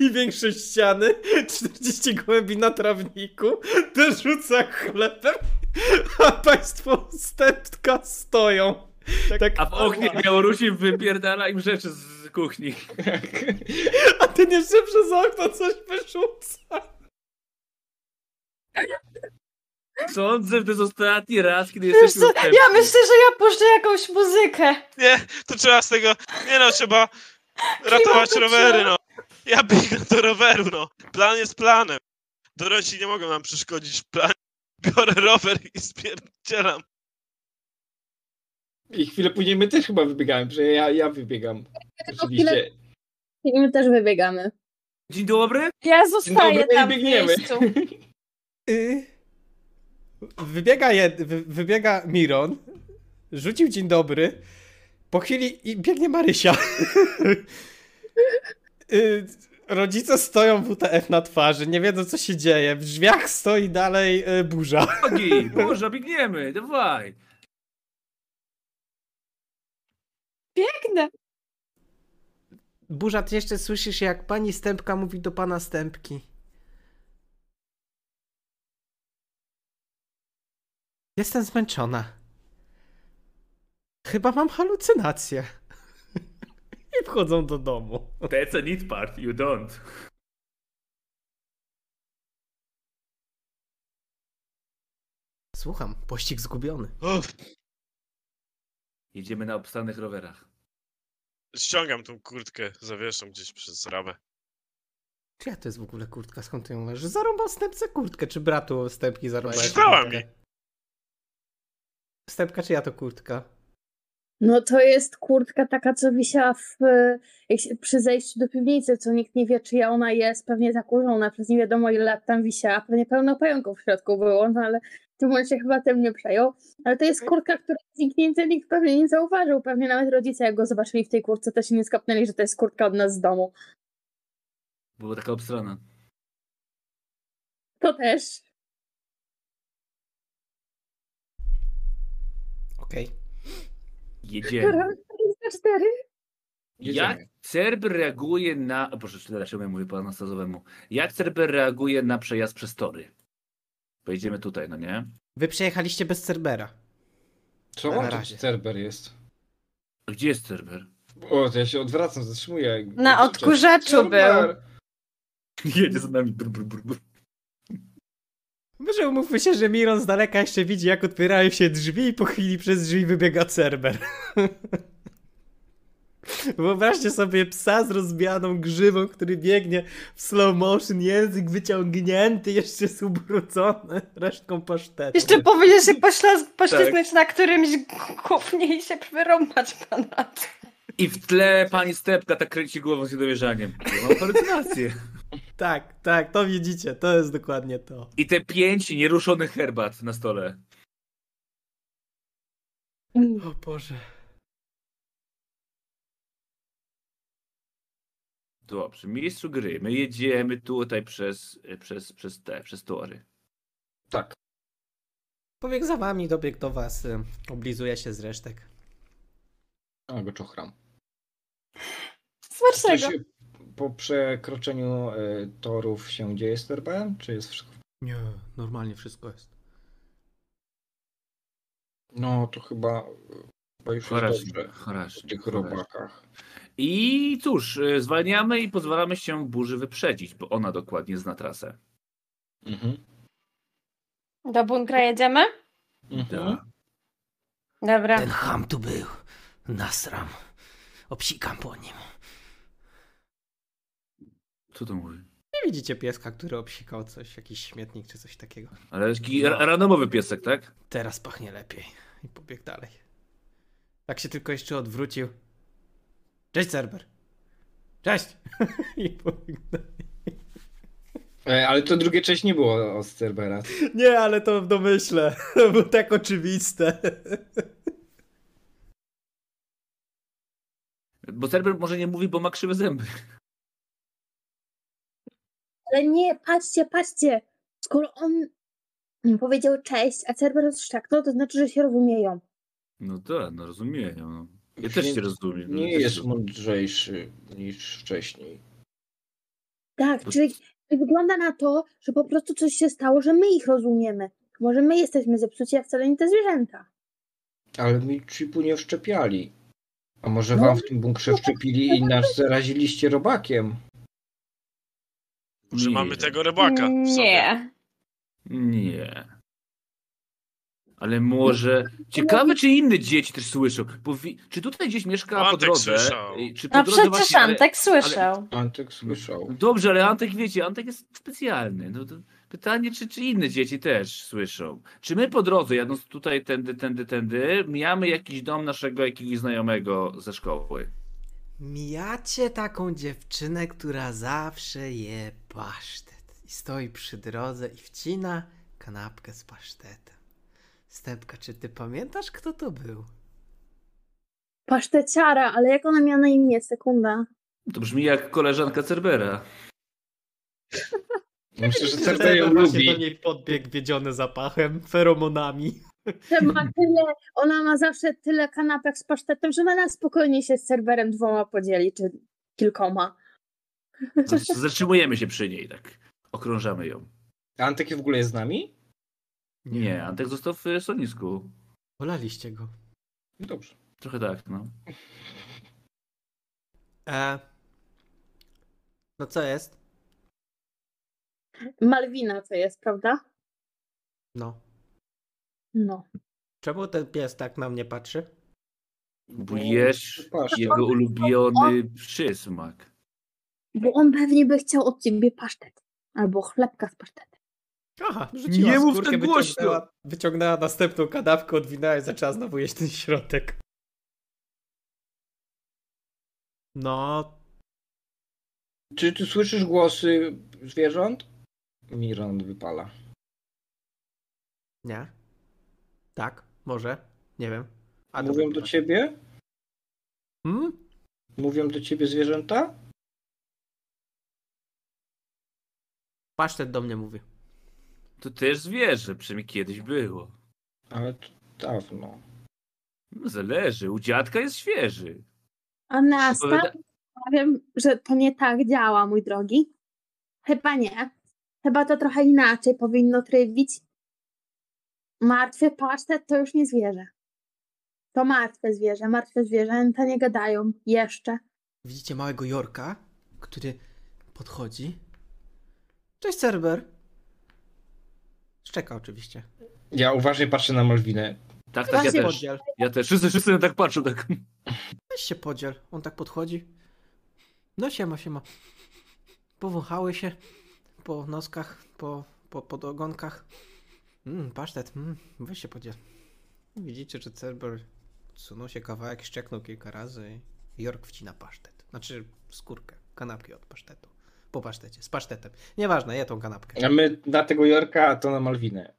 i większe ściany, 40 gołębi na trawniku, dorzuca chlebem, a państwo stepka stoją.
Tak,
A w oknie Białorusin wypierdala im rzeczy z kuchni.
a ten jeszcze przez okno coś wyrzuca.
Sądzę, że to jest ostatni raz, kiedy
Wiesz
jesteśmy
co,
ustępni.
ja myślę, że ja puszczę jakąś muzykę.
Nie, to trzeba z tego. Nie no, trzeba ratować
to
rowery,
trzeba.
no. Ja biegnę do roweru, no. Plan jest planem. Dorośli nie mogą nam przeszkodzić w planie. Biorę rower i spierdzielam.
I chwilę później my też chyba wybiegamy, że ja, ja wybiegam.
Tylko chwilę
Oczywiście.
i my też wybiegamy.
Dzień dobry.
Ja
Dzień
zostaję
dobry,
tam w
biegniemy.
miejscu.
Y... Wybiega, jed... wy- Wybiega Miron, rzucił dzień dobry, po chwili i biegnie Marysia. Y, Rodzice stoją WTF na twarzy, nie wiedzą co się dzieje. W drzwiach stoi dalej y, burza.
Nogi, Boże, biegniemy, dawaj.
Biegnę.
Burza, ty jeszcze słyszysz, jak pani Stępka mówi do pana Stępki. Jestem zmęczona. Chyba mam halucynację. I wchodzą do domu.
That's a neat part, you don't.
Słucham, pościg zgubiony.
Uff,
Jedziemy na obstanych rowerach.
ściągam tą kurtkę, zawieszam gdzieś przez ramę.
Czyja to jest w ogóle kurtka? Skąd ty ją masz? Zarąbał Stępce kurtkę, czy bratu Stępki zarąbałeś
Przydała
kurtkę?
mi.
Stępka, czy ja to kurtka?
No to jest kurtka taka, co wisiała w, e, jak się, przy zejściu do piwnicy, co nikt nie wie, czyja ona jest, pewnie zakurzona, przez nie wiadomo ile lat tam wisiała, pewnie pełno pająków w środku było, no ale w tym momencie chyba tym nie przejął. Ale to jest kurtka, której zniknięcie nikt pewnie nie zauważył, pewnie nawet rodzice jak go zobaczyli w tej kurtce, to się nie skapnęli, że to jest kurtka od nas z domu.
Była taka obstrona.
To też.
Okej.
Jedziemy.
Za cztery.
Jak
Jedziemy.
Cerber reaguje na... O Boże, dlaczego ja mówię po Anastazowemu? Jak Cerber reaguje na przejazd przez tory? Pojedziemy tutaj, no nie?
Wy przejechaliście bez Cerbera.
Co?
Na razie.
Cerber jest.
A Gdzie jest Cerber?
O, to ja się odwracam, zatrzymuję.
Na odkurzaczu był.
Cerber!
Jedzie za nami. Brr, brr, brr, brr.
Może umówmy się, że Miron z daleka jeszcze widzi, jak otwierają się drzwi i po chwili przez drzwi wybiega Cerber. Wyobraźcie sobie psa z rozbianą grzywą, który biegnie w slow motion, język wyciągnięty, jeszcze jest ubrudzony resztką pasztetu.
Jeszcze powinien się poślaz- poślizgnąć na którymś głównie i się wyrąbać pana.
I w tle pani Stepka tak kręci głową z niedowierzaniem. Ja mam halucynację.
Tak, tak, to widzicie, to jest dokładnie to.
I te pięć nieruszonych herbat na stole.
O Boże.
Dobrze, miejscu gry. My jedziemy tutaj przez, przez, przez te, przez tory.
Tak.
Pobieg za wami, dobieg do was, y, oblizuje się z resztek.
A go czochram.
Smacznego.
Coś po przekroczeniu e, torów się dzieje z Cerberem? Czy jest wszystko?
Nie, normalnie wszystko jest.
No, to chyba, chyba już jest
Chorasznie,
dobrze. W
chorasznie.
tych robakach.
I cóż, y, zwalniamy i pozwalamy się burzy wyprzedzić, bo ona dokładnie zna trasę.
Mhm.
Do bunkra jedziemy?
Tak.
Mhm.
Da.
Dobra.
Ten ham tu był. Nasram. Obsikam po nim.
Co to mówi?
Nie widzicie pieska, który obsikał coś, jakiś śmietnik czy coś takiego.
Ale taki ra- randomowy piesek, tak?
Teraz pachnie lepiej. I pobiegł dalej. Tak się tylko jeszcze odwrócił. Cześć, Cerber. Cześć! I pobiegł dalej.
E, ale to drugie część nie było od Cerbera.
Nie, ale to w domyśle. Było tak oczywiste.
Bo Cerber może nie mówi, bo ma krzywe zęby.
Ale nie, patrzcie, patrzcie. Skoro on powiedział cześć, a Cerberus szczaknął, to znaczy, że się rozumieją.
No tak, no rozumiem. No. Ja też
Nie-
cię rozumiem. no,
Nie
też
jest
rozumiem.
mądrzejszy niż wcześniej.
Tak,
To-
czyli wygląda na to, że po prostu coś się stało, że my ich rozumiemy. Może my jesteśmy zepsuci, a wcale nie te zwierzęta.
Ale mi chipu nie wszczepiali. A może wam w tym bunkrze wszczepili i nas zaraziliście robakiem?
Może
Nie.
mamy tego rybaka w sobie.
Nie.
Nie. Ale może. Ciekawe, czy inne dzieci też słyszą. Bo wi... Czy tutaj gdzieś mieszka po
Antek
drodze?
słyszał.
I Czy po
No
drodze
przecież
właśnie- ale-
Antek słyszał.
Antek słyszał.
No Dobrze, ale Antek wiecie, Antek jest specjalny. No to pytanie, czy, czy inne dzieci też słyszą. Czy my po drodze, jadąc tutaj tędy, tędy, tędy, mijamy jakiś dom naszego jakiegoś znajomego ze szkoły?
Mijacie taką dziewczynę, która zawsze je pasztet. I stoi przy drodze i wcina kanapkę z pasztetem. Stepka, czy ty pamiętasz, kto to był?
Paszteciara, ale jak ona miała na imię? Sekunda.
To brzmi jak koleżanka Cerbera.
Myślę, że serce
no
ją lubi.
niej podbiegł wiedziony zapachem, feromonami.
Że ma tyle, ona ma zawsze tyle kanapek z pasztetem, że ona na spokojnie się z serwerem dwoma podzieli, czy kilkoma.
Z- Zatrzymujemy się przy niej, tak. Okrążamy ją.
Antek w ogóle jest z nami?
Nie, Antek został w y, solnisku.
Polaliście go.
No Dobrze.
Trochę tak, no.
E... No co jest?
Malwina to jest, prawda?
No.
No.
Czemu ten pies tak na mnie patrzy?
Bo jesz
Patrz,
jego ulubiony przysmak.
Bo on pewnie by chciał od ciebie pasztet. Albo chlebka z pasztetem.
Aha,
rzuciła Nie mów skórkę, tak głośno! wyciągnęła-
wyciągnęła następną kanapkę, odwinęła i zaczęła znowu jeść ten środek. No,
Czy ty słyszysz głosy zwierząt? Miron wypala.
nie. Tak, może. Nie wiem. A
Mówią
dobra.
do ciebie?
Hmm?
Mówią do ciebie zwierzęta?
Pasztet do mnie mówi.
To też zwierzę, przynajmniej kiedyś było.
Ale to dawno.
No, zależy, u dziadka jest świeży.
A na
Powiada-
Wiem, że to nie tak działa, mój drogi. Chyba nie. Chyba to trochę inaczej powinno trywić. Martwy pasztet to już nie zwierzę. To martwe zwierzę. Martwe zwierzęta nie gadają jeszcze.
Widzicie małego Jorka, który podchodzi. Cześć, Cerber. Szczeka oczywiście.
Ja uważnie patrzę na Malwinę.
Tak, tak, ja
Właśnie-
też.
Podziel.
Ja też. Wszyscy, wszyscy na tak patrzą, tak.
Weź się podziel. On tak podchodzi. No siema, siema. Powąchały się po noskach, po, po podogonkach. Mmm, pasztet. Mm, weź się podziel. Widzicie, że Cerber sunął się kawałek, szczeknął kilka razy i Jork wcina pasztet. Znaczy skórkę, kanapki od pasztetu. Po pasztecie, z pasztetem. Nieważne, je tą kanapkę.
A my na tego Jorka, a to na Malwinę.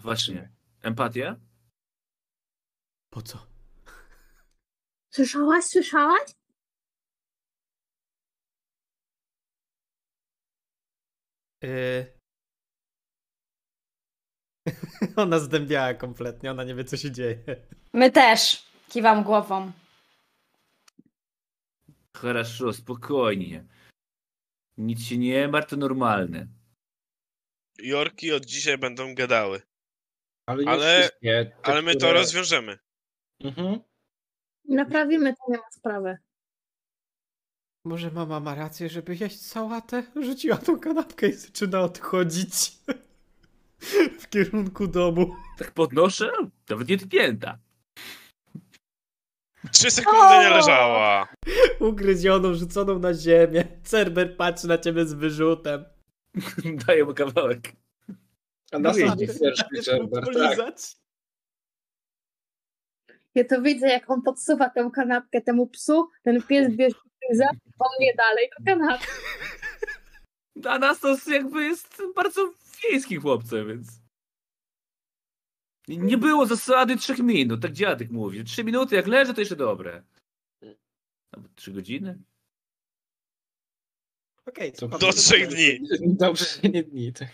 Właśnie. Empatia?
Po co?
Słyszałaś, słyszałaś?
Yy... ona zdębiała kompletnie, ona nie wie co się dzieje.
My też. Kiwam głową.
Хорошо, spokojnie. Nic się nie martw, to normalne.
Jorki od dzisiaj będą gadały.
Ale, nie
Ale-
wszystkie, te,
Ale my to
które-
rozwiążemy.
Mhm.
Naprawimy to, nie ma sprawy.
Może mama ma rację, żeby jeść sałatę? Rzuciła tą kanapkę i zaczyna odchodzić w kierunku domu.
Tak podnoszę? Nawet nie tknięta.
Trzy sekundy nie leżała.
Ugryzioną, rzuconą na ziemię. Cerber patrzy na ciebie z wyrzutem.
Daję mu kawałek.
A na
Mówię,
sam
nie
serce,
chcesz
Cerber,
mu
tak.
polizać?
Ja to widzę, jak on podsuwa tę kanapkę temu psu. Ten pies bierze za po mnie dalej do kanapki.
Anastas jakby jest bardzo wiejskim chłopcem, więc... Nie było zasady trzech minut, tak dziadek mówi. Trzy minuty, jak leży, to jeszcze dobre. Albo trzy godziny?
Okej,
To
słucham.
Do trzech dni.
Dobrze, że nie dni. tak.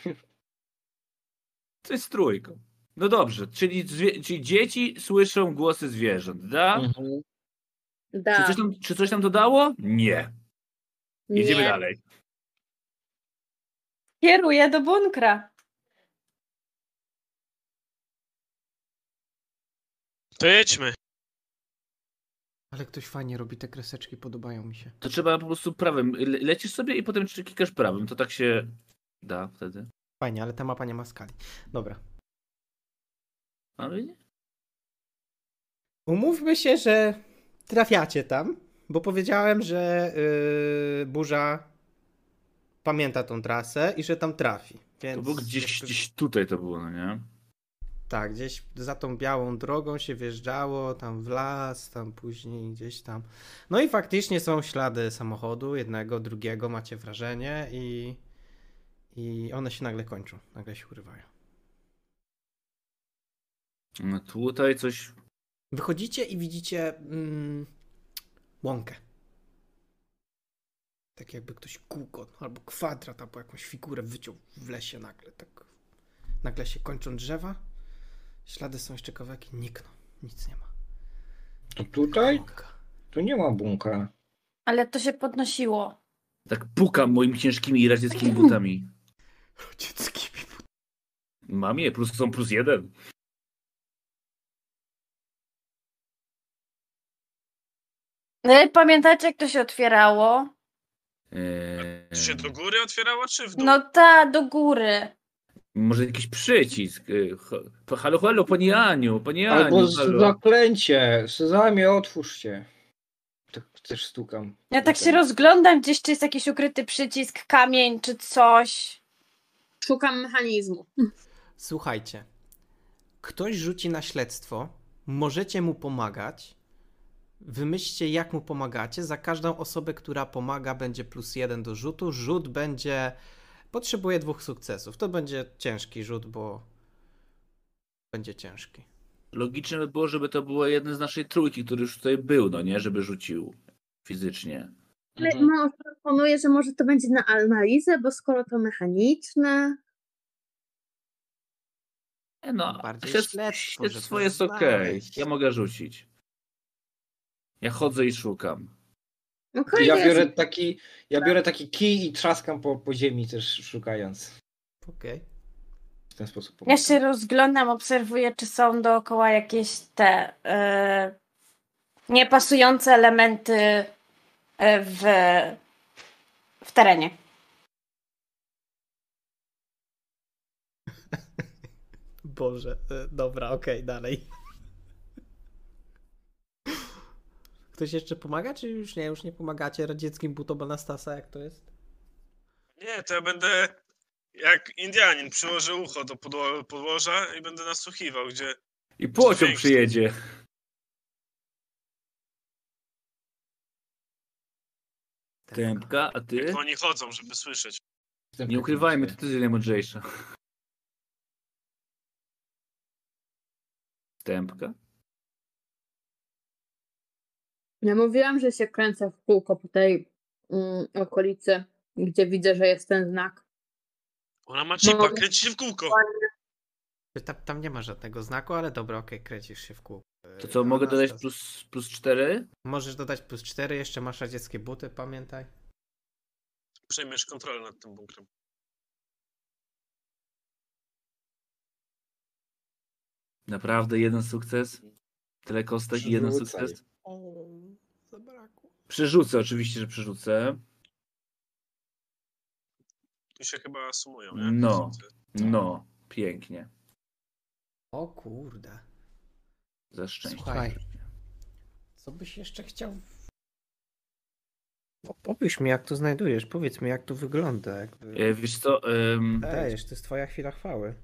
To jest trójką. No dobrze, czyli, zwie- czyli dzieci słyszą głosy zwierząt, da?
Mhm.
Czy,
Da,
coś tam, czy coś tam dodało? Nie. Jedziemy
nie.
dalej.
Kieruję do bunkra.
To jedźmy.
Ale ktoś fajnie robi te kreseczki, podobają mi się.
To trzeba po prostu prawym. Le- Lecisz sobie i potem czy- klikasz prawym. To tak się da wtedy.
Fajnie, ale ta mapa nie ma skali. Dobra.
Ale nie.
Umówmy się, że trafiacie tam, bo powiedziałem, że yy, burza pamięta tą trasę i że tam trafi. Więc
To było gdzieś, gdzieś tutaj to było, no nie?
Tak, gdzieś za tą białą drogą się wjeżdżało, tam w las, tam później gdzieś tam. No i faktycznie są ślady samochodu, jednego, drugiego, macie wrażenie i, i one się nagle kończą, nagle się urywają.
No tutaj coś.
Wychodzicie i widzicie mm, łąkę. Tak jakby ktoś kółko albo kwadrat, albo jakąś figurę wyciął w lesie nagle. Tak. Nagle się kończą drzewa, ślady są jeszcze kawałki, nikną, nic nie ma.
To tutaj?
Łąka.
Tu nie ma bunkra.
Ale to się podnosiło.
Tak pukam moimi ciężkimi radzieckimi butami.
Rodzicki
Mam je, plus są plus jeden.
E, Pamiętacie, jak to się otwierało?
Eee,
Czy się do góry otwierało, czy w dół?
No ta, do góry.
Może jakiś przycisk. Eee, ho- Halo, halo, panie Aniu, panie Aniu.
Albo z-
halo.
zaklęcie. Sezamie, otwórz się. Tak też stukam.
Ja tak się rozglądam gdzieś, czy jest jakiś ukryty przycisk, kamień czy coś.
Szukam mechanizmu.
Słuchajcie, ktoś rzuci na śledztwo, możecie mu pomagać. Wymyślcie, jak mu pomagacie. Za każdą osobę, która pomaga, będzie plus jeden do rzutu. Rzut będzie. Potrzebuje dwóch sukcesów. To będzie ciężki rzut, bo. Będzie ciężki.
Logiczne by było, żeby to było jeden z naszej trójki, który już tutaj był, no nie? Żeby rzucił fizycznie.
Ale
Mhm.
no, proponuję, że może to będzie na analizę, bo skoro to mechaniczne,
E, No,
Bardziej
śledztw-
śledztwo,
śledztwo
żeby
jest okej.
znaleźć.
Ja mogę rzucić. Ja chodzę i szukam.
no
Ja
kolejny
biorę taki, ja biorę taki kij i trzaskam po, po ziemi też szukając.
Okej.
W ten sposób.
Ja się rozglądam, obserwuję, czy są dookoła jakieś te e, niepasujące elementy e, w, w terenie.
Boże, y, dobra, okej, dalej. Ktoś jeszcze pomaga, czy już nie? Już nie pomagacie radzieckim butobanastasa, jak to jest?
Nie, to ja będę jak Indianin, przyłożę ucho do podło- podłoża i będę nasłuchiwał, gdzie...
I pociąg
Dźwięk.
przyjedzie.
Tak.
Tępka, a ty?
Jak oni chodzą, żeby słyszeć.
Tak
Nie ukrywajmy, to ty jesteś najmądrzejsza. Tępka?
Ja mówiłam, że się kręcę w kółko po tej mm, okolicy, gdzie widzę, że jest ten znak.
Ona ma chipa,
No.
kręci się w kółko.
Tam, tam nie ma żadnego znaku, ale dobra, okej, kręcisz się w kół.
To
E,
co, mogę dodać plus, plus 4?
Możesz dodać plus 4, jeszcze masz radzieckie buty, pamiętaj.
Przejmiesz kontrolę nad tym bunkrem.
Naprawdę jeden sukces? Tyle kostek i jeden
Przerzucaj.
sukces?
O, zabrakło.
Przerzucę, oczywiście, że przerzucę.
Tu się chyba sumują, nie?
No. No, pięknie.
O kurde.
Za szczęście.
Słuchaj. Co byś jeszcze chciał? Opisz mi, jak to znajdujesz, powiedz mi, jak to wygląda. Jakby...
E, Wiesz co, em,
Dajesz, to jest twoja chwila chwały.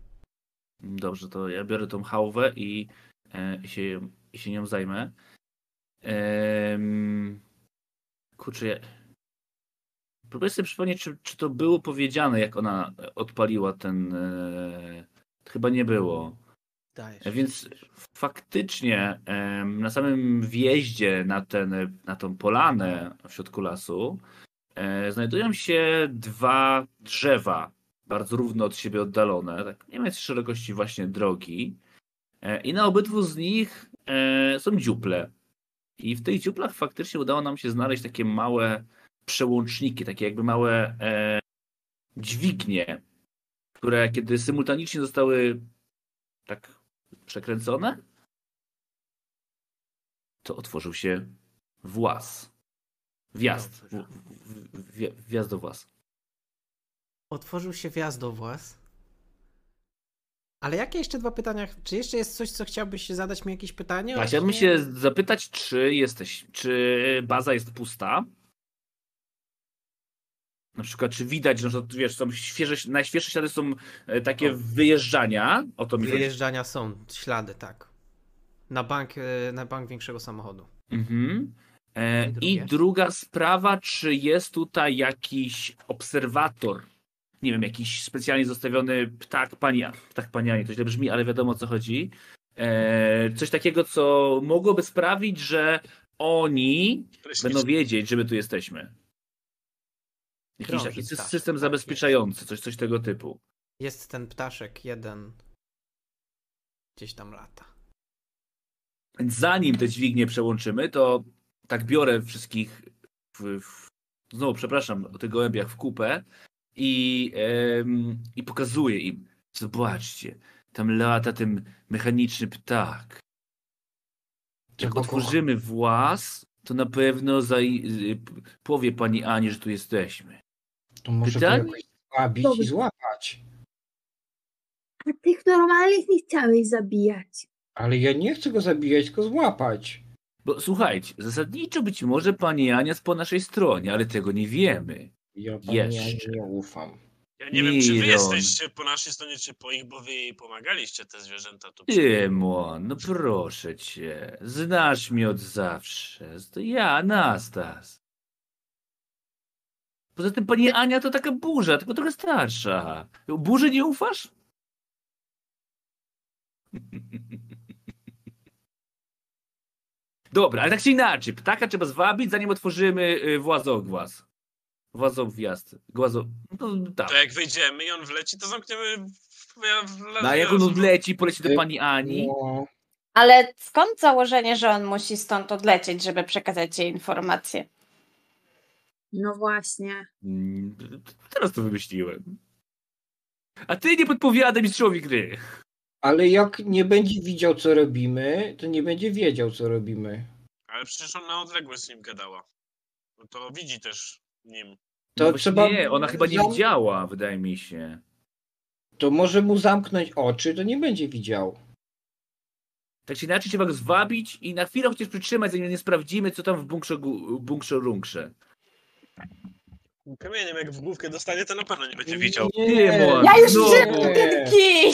Dobrze, to ja biorę tą hałwę i, e, i się, i się nią zajmę. Em, kurczę, ja... próbuję sobie przypomnieć, czy, czy to było powiedziane, jak ona odpaliła ten... E... Chyba nie było.
Dajesz.
E, Więc faktycznie em, na samym wjeździe na, ten, na tą polanę w środku lasu e, znajdują się dwa drzewa, bardzo równo od siebie oddalone, tak nie mając szerokości właśnie drogi. E, I na obydwu z nich e, są dziuple. I w tych dziuplach faktycznie udało nam się znaleźć takie małe przełączniki, takie jakby małe e, dźwignie, które kiedy symultanicznie zostały tak przekręcone, to otworzył się włas. Wjazd. W, w, w, wje- wjazd do włas.
Otworzył się wjazd do włas. Ale jakie jeszcze dwa pytania? Czy jeszcze jest coś, co chciałbyś zadać mi jakieś pytanie?
A chciałbym się zapytać, czy jesteś, czy baza jest pusta? Na przykład, czy widać, no, że wiesz, są świeże, najświeższe ślady są e, takie
O.
wyjeżdżania, o to mi chodzi.
Wyjeżdżania są, ślady, tak. Na bank, e, na bank większego samochodu.
Mhm. E,
No I
I
drugie?
druga sprawa, czy jest tutaj jakiś obserwator? Nie wiem, jakiś specjalnie zostawiony ptak pani, ptak pani Ani, to źle brzmi, ale wiadomo o co chodzi. E, coś takiego, co mogłoby sprawić, że oni będą wiedzieć, że my tu jesteśmy. Jakiś
Krąży
taki sy-
ptaszek,
system
tak
zabezpieczający, coś, coś tego typu.
Jest ten ptaszek jeden. Gdzieś tam lata.
Więc zanim te dźwignie przełączymy, to tak biorę wszystkich, w, w, znowu przepraszam, o tych gołębiach w kupę i, em, i pokazuję im. Zobaczcie, tam lata ten mechaniczny ptak. Jak otworzymy włas, to na pewno zaj- y, p- powie pani Ani, że tu jesteśmy.
To może to
Pytanie?
jakoś zabić
Dobry.
i złapać.
A tych normalnych nie chciałeś zabijać.
Ale ja nie chcę go zabijać, tylko złapać.
Bo słuchajcie, zasadniczo być może pani Ania jest po naszej stronie, ale tego nie wiemy.
Ja panu ja
Jeszcze.
nie ufam.
Ja nie wiem, czy wy
Iron.
jesteście po naszej stronie, czy po ich, bo wy jej pomagaliście, te zwierzęta tu.
Tymon, no proszę cię, znasz mnie od zawsze. To ja, Anastas. Poza tym pani Ania to taka burza, tylko trochę starsza. Burzy nie ufasz? Dobra, ale tak czy inaczej, ptaka trzeba zwabić, zanim otworzymy y, włazogłaz. Włazogwiazd. Głazo... No tak.
To jak wyjdziemy i on wleci, to zamkniemy. w- w- w-
Na jak on odleci, poleci do pani Ani.
No,
Ale skąd założenie, że on musi stąd odlecieć, żeby przekazać jej informację?
No właśnie.
Mm, Teraz to wymyśliłem. A ty nie podpowiadaj mistrzowi gry.
ale jak nie będzie widział, co robimy, to nie będzie wiedział, co robimy.
Ale przecież ona na odległość z nim gadała. No to widzi też nim.
No
To
właśnie
trzeba- No.
Nie, ona chyba nie
Zam-
widziała, wydaje mi się.
To może mu zamknąć oczy, to nie będzie widział.
Tak czy inaczej trzeba go zwabić i na chwilę chociaż przytrzymać, zanim nie sprawdzimy, co tam w bunkrze, gu- bunkrze runkrze.
Kamieniem jak w główkę dostanie, to na pewno nie będzie widział.
Tymon,
Ja
No.
już
znowu.
wiem, ten kij!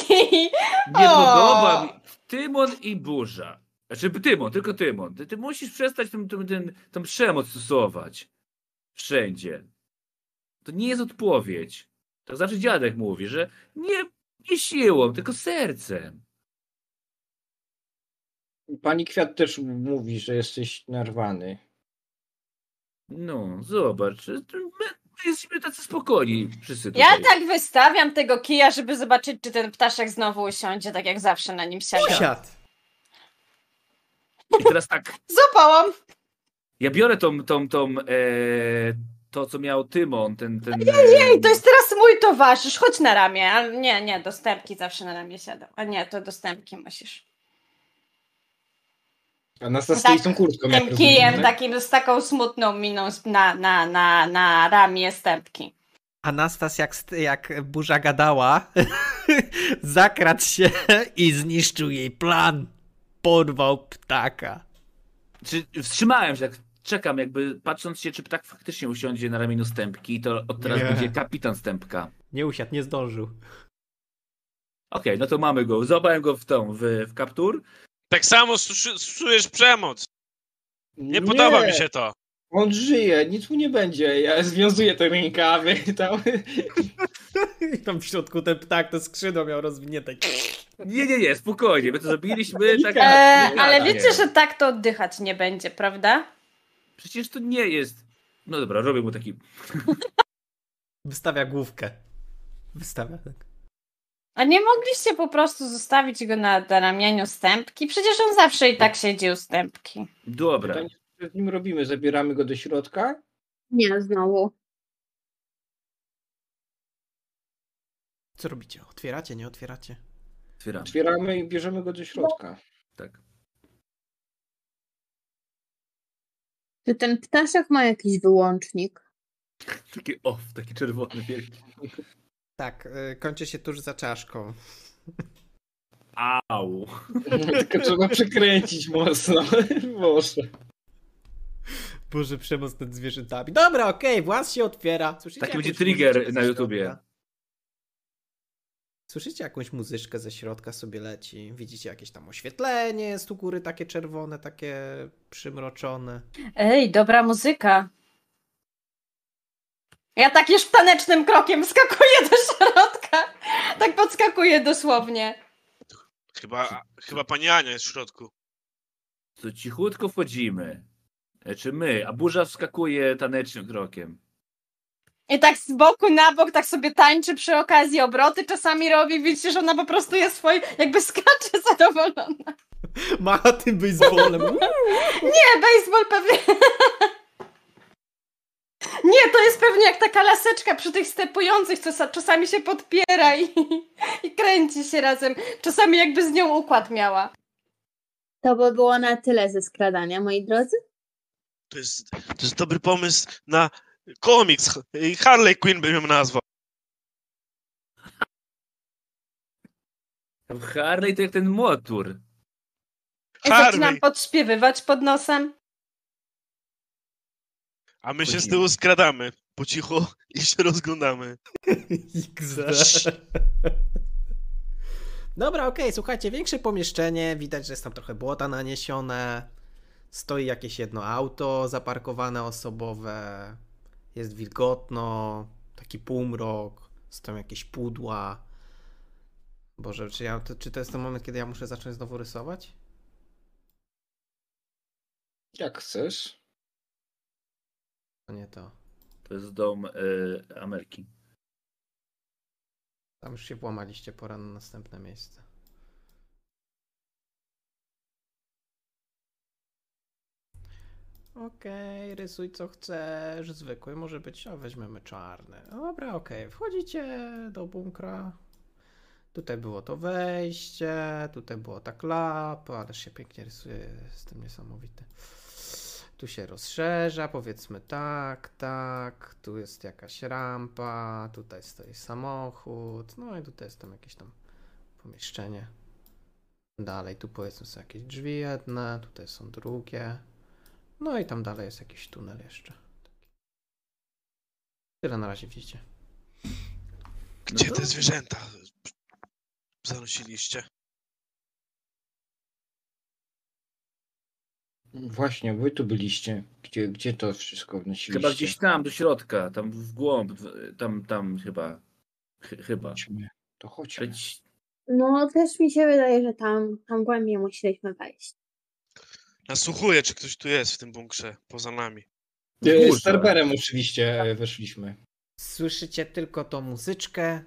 Nie
O!
podoba mi... Tymon i burza. Znaczy Tymon, tylko Tymon. Ty, ty musisz przestać tą, tą, ten, tą przemoc stosować. Wszędzie. To nie jest odpowiedź. Tak zawsze dziadek mówi, że nie, nie siłą, tylko sercem.
Pani Kwiat też mówi, że jesteś narwany.
No, zobacz. My, my jesteśmy tacy spokojni wszyscy tutaj.
Ja tak wystawiam tego kija, żeby zobaczyć, czy ten ptaszek znowu usiądzie, tak jak zawsze na nim siadał.
Usiadł!
I teraz tak,
Złapałam!
ja biorę tą, tą, tą, e, to co miał Tymon, ten, ten...
Ej, to jest teraz mój towarzysz, chodź na ramię. A nie, nie, dostępki zawsze na ramię siadał. A nie, to dostępki musisz.
A nas z
Tak,
tą kurtką. jak
Tym kijem,
rozumiem, tak?
takim, z taką smutną miną z- na, na, na, na ramię stępki.
Anastas, jak, st- jak burza gadała, zakradł się i zniszczył jej plan. Porwał ptaka.
Czy wstrzymałem się, jak czekam, jakby patrząc się, czy ptak faktycznie usiądzie na ramieniu stępki i to od teraz
Nie.
będzie kapitan stępka.
Nie usiadł, nie zdążył.
Okej, no to mamy go. Złapałem go w tą, w, w kaptur.
Tak samo stoszu- stosujesz przemoc. Nie podoba mi się to.
On żyje, nic mu nie będzie. Ja związuję te rękawy. Tam.
I tam w środku ten ptak to skrzydło miał rozwinięte.
Nie, nie, nie, spokojnie, my to zrobiliśmy tak...
E,
delikatnie.
ale wiecie, że tak to oddychać nie będzie, prawda?
Przecież to nie jest... No dobra, robię mu taki...
Wystawia główkę. Wystawia, tak.
A nie mogliście po prostu zostawić go na, na ramieniu stępki? Przecież on zawsze i tak siedzi u stępki.
Dobra,
Pytanie, co z nim robimy? Zabieramy go do środka?
Nie, znowu.
Co robicie? Otwieracie, nie otwieracie?
otwieram.
Otwieramy i bierzemy go do środka.
Tak.
Czy ten ptaszek ma jakiś wyłącznik?
Taki off, taki czerwony wielki.
Tak, y, kończy się tuż za czaszką.
Au.
No.
Tylko trzeba przekręcić mocno. Boże.
Boże, przemoc nad zwierzętami. Dobra, okej, włas się otwiera. Słyszycie
Taki będzie
jakąś
trigger
muzyczkę ze
na YouTubie.
środka? Słyszycie jakąś muzyczkę ze środka sobie leci. Widzicie jakieś tam oświetlenie jest u góry takie czerwone, takie przymroczone.
Ej, dobra muzyka. Ja tak już tanecznym krokiem skakuję do środka. Tak podskakuję dosłownie.
Chyba, chyba pani Ania jest w środku.
To cichutko wchodzimy. Znaczy my, a burza wskakuje tanecznym krokiem.
I tak z boku na bok, tak sobie tańczy przy okazji, obroty czasami robi. Widzicie, że ona po prostu jest swoje, jakby skacze zadowolona.
Macha tym baseballem.
Nie, baseball pewnie. Nie, to jest pewnie jak taka laseczka przy tych stepujących, co sa- czasami się podpiera i, i kręci się razem. Czasami jakby z nią układ miała.
To by było na tyle ze skradania, moi drodzy.
To jest, to jest dobry pomysł na komiks. I Harley Quinn bym ją nazwał.
Harley to jak ten motor.
Zaczynam
Harley!
podśpiewywać pod nosem.
A my się z
Wchodzimy.
tyłu skradamy. Po cichu i się rozglądamy.
XD. Dobra, okej, słuchajcie, większe pomieszczenie, widać, że jest tam trochę błota naniesione, stoi jakieś jedno auto zaparkowane osobowe, jest wilgotno, taki półmrok, są jakieś pudła. Boże, czy, ja, to, czy to jest ten moment, kiedy ja muszę zacząć znowu rysować?
Jak chcesz.
To nie to.
To jest dom y, Ameryki.
Tam już się włamaliście, pora na następne miejsce. Okej, rysuj co chcesz, zwykły może być, a weźmiemy czarny. Dobra, okej, wchodzicie do bunkra. Tutaj było to wejście, tutaj było ta klapa, ale się pięknie rysuje, jestem niesamowity. Tu się rozszerza, powiedzmy tak, tak, tu jest jakaś rampa, tutaj stoi samochód, no i tutaj jest tam jakieś tam pomieszczenie. Dalej tu powiedzmy są jakieś drzwi jedne, tutaj są drugie. No i tam dalej jest jakiś tunel jeszcze. Tyle na razie widzicie.
Gdzie
No to-
te zwierzęta zanosiliście?
Właśnie, wy tu byliście. Gdzie, gdzie to wszystko wnosiliście?
Chyba gdzieś tam, do środka, tam w głąb, w- tam, tam chyba. Chy- chyba.
Chodźmy. To chodźmy.
Przecież
No, też mi się wydaje, że tam, tam głębiej musieliśmy wejść.
Nasłuchuję, czy ktoś tu jest w tym bunkrze, poza nami.
w
Ty,
górze.
Z Cerberem oczywiście e, weszliśmy.
Słyszycie tylko tą muzyczkę.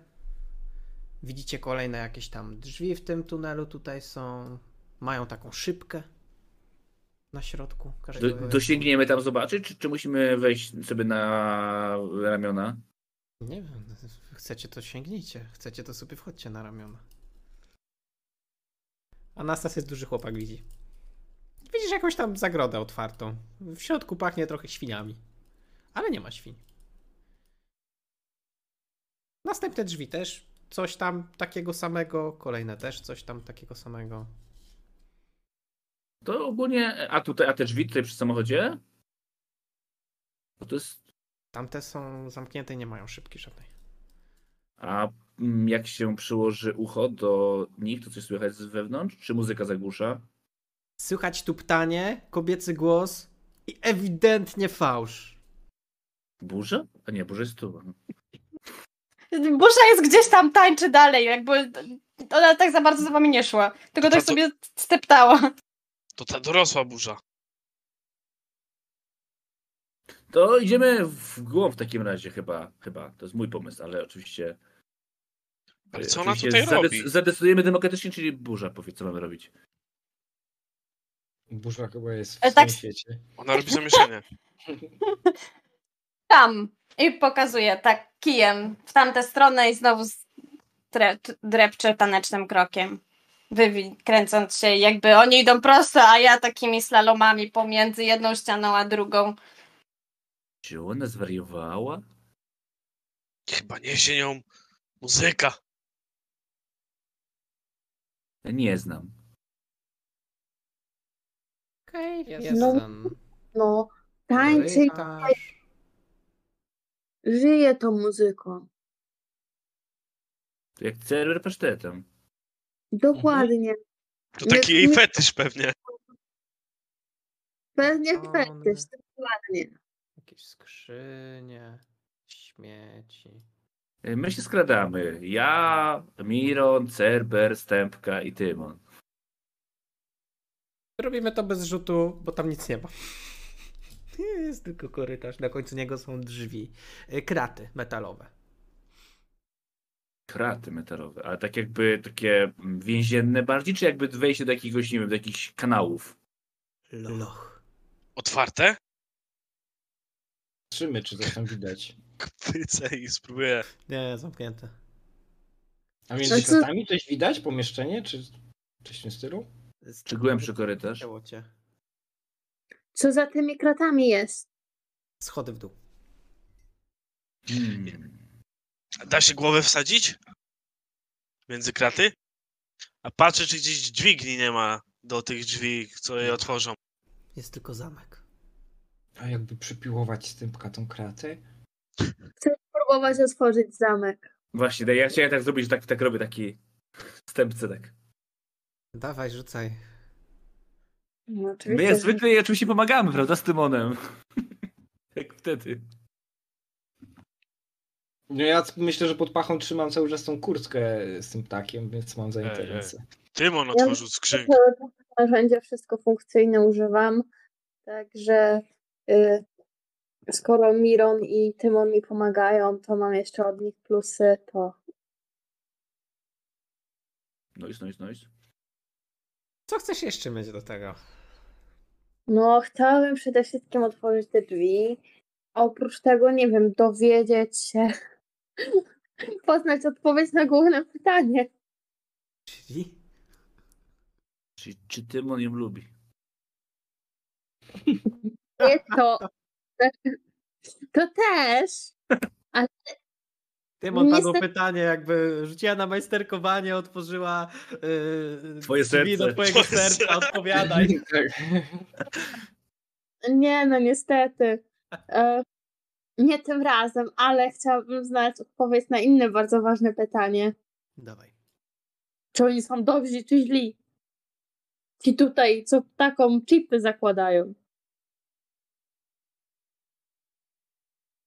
Widzicie kolejne jakieś tam drzwi w tym tunelu. Tutaj są. Mają taką szybkę na środku. każdego
Do, dosięgniemy tam zobaczyć, czy, czy musimy wejść sobie na ramiona?
Nie wiem, chcecie to sięgnijcie. Chcecie to sobie wchodźcie na ramiona. Anastas jest duży chłopak, widzi. Widzisz jakąś tam zagrodę otwartą. W środku pachnie trochę świniami. Ale nie ma świń. Następne drzwi też. Coś tam takiego samego. Kolejne też coś tam takiego samego.
To ogólnie. e, A tutaj, a te drzwi tutaj przy samochodzie? Bo To jest.
Tamte są zamknięte i nie mają szybki żadnej.
A mm, jak się przyłoży ucho do nich, to coś słychać z wewnątrz? Czy muzyka zagłusza?
Słychać tu ptanie, kobiecy głos i ewidentnie fałsz.
Burza? A nie, burza jest tu.
Burza jest gdzieś tam, tańczy dalej, jakby ona tak za bardzo za wami nie szła. Tylko tak
To-
sobie steptała.
To ta dorosła burza.
To idziemy w głąb w takim razie chyba, chyba. To jest mój pomysł, ale oczywiście. e,
Ale co ona
oczywiście
tutaj robi?
zadec- Zadecydujemy demokratycznie, czyli burza powie, co mamy robić.
Burza chyba jest w
E,
tym
tak-
świecie.
Ona robi zamieszanie.
Tam. I pokazuje tak kijem w tamtę stronę i znowu s- tre- drepcze tanecznym krokiem. wywi- kręcąc się, jakby oni idą prosto, a ja takimi slalomami pomiędzy jedną ścianą a drugą.
Czy ona zwariowała?
Chyba niesie nią muzyka.
Ja nie znam.
Okej, okay,
No.
jestem.
No, tańczy,
No
Rybasz.
żyje tą
Mhm.
muzyką.
To jak serwer pasztetem.
Dokładnie.
To
Nie-
taki jej
nie-
fetysz pewnie.
Pewnie
no.
One.
fetysz, dokładnie.
Jakieś skrzynie, śmieci.
Y, My się skradamy. Ja, Miron, Cerber, Stępka i Tymon.
Robimy to bez rzutu, bo tam nic nie ma. Jest tylko korytarz, na końcu niego są drzwi. Y, Kraty metalowe.
Kraty metalowe, ale tak jakby takie mm, więzienne bardziej, czy jakby wejście do jakiegoś, nie wiem, do jakichś kanałów?
Loch.
Otwarte?
Trzymy, czy coś tam widać.
Kpycę i spróbuję.
Nie, zamknięte.
A między
Znaczy-
światami coś widać? Pomieszczenie? Czy coś w tym stylu?
Czy głębszy korytarz?
Ciało cię.
Co za tymi kratami jest?
Schody w dół.
Hmm.
A Da się głowę wsadzić? Między kraty? A patrzę, czy gdzieś dźwigni nie ma do tych drzwi, co je otworzą.
Jest tylko zamek.
A jakby przypiłować stępka tą kratę?
Próbować otworzyć zamek.
Właśnie, no ja chciałem tak zrobić, że tak, tak robię taki stępce tak.
Dawaj, rzucaj.
No,
My
oczywiście,
jak
że-
zwykle jej oczywiście pomagamy, prawda, z Tymonem? Jak wtedy.
No ja myślę, że pod pachą trzymam cały czas tą kurtkę z tym ptakiem, więc mam
Ej,
zajęte
ej.
ręce.
Tymon otworzył skrzynkę.
narzędzia, wszystko funkcyjne używam. Także y, skoro Miron i Tymon mi pomagają, to mam jeszcze od nich plusy, to
Nois, nois, nois.
Co chcesz jeszcze mieć do tego?
no chciałabym przede wszystkim otworzyć te drzwi. A oprócz tego, nie wiem, dowiedzieć się, poznać odpowiedź na główne pytanie.
Czyli?
Czy, czy Tymon ją lubi?
Nie to. To też.
Tymon padło
Niestety-
pytanie, jakby rzuciła na majsterkowanie, otworzyła yy,
Twoje
drzwi do
serce.
twojego
Twoje
serca,
serce.
odpowiadaj.
Tak.
Nie, no niestety. E, Nie tym razem, ale chciałabym znać odpowiedź na inne bardzo ważne pytanie.
Dawaj.
Czy oni są dobrzy, czy źli? Ci tutaj, co taką chipy zakładają.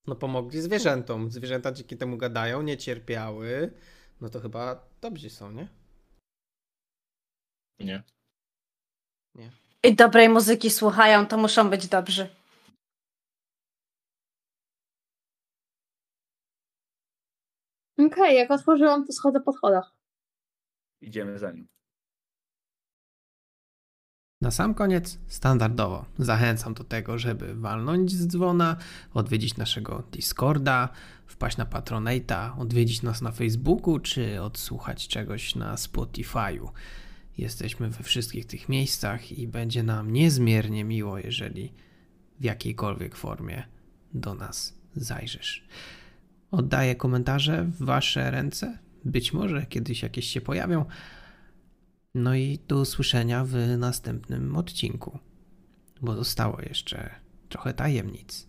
No pomogli zwierzętom. Zwierzęta dzięki temu gadają, nie cierpiały. No to chyba dobrzy są, nie?
Nie.
I dobrej muzyki słuchają, to muszą być dobrzy.
Okej, jak otworzyłam, to schodzę po schodach.
Idziemy za nim.
Na sam koniec, standardowo, zachęcam do tego, żeby walnąć z dzwona, odwiedzić naszego Discorda, wpaść na Patronate'a, odwiedzić nas na Facebooku czy odsłuchać czegoś na Spotify'u. Jesteśmy we wszystkich tych miejscach i będzie nam niezmiernie miło, jeżeli w jakiejkolwiek formie do nas zajrzysz. Oddaję komentarze w Wasze ręce. Być może kiedyś jakieś się pojawią. No i do usłyszenia w następnym odcinku, bo zostało jeszcze trochę tajemnic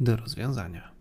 do rozwiązania.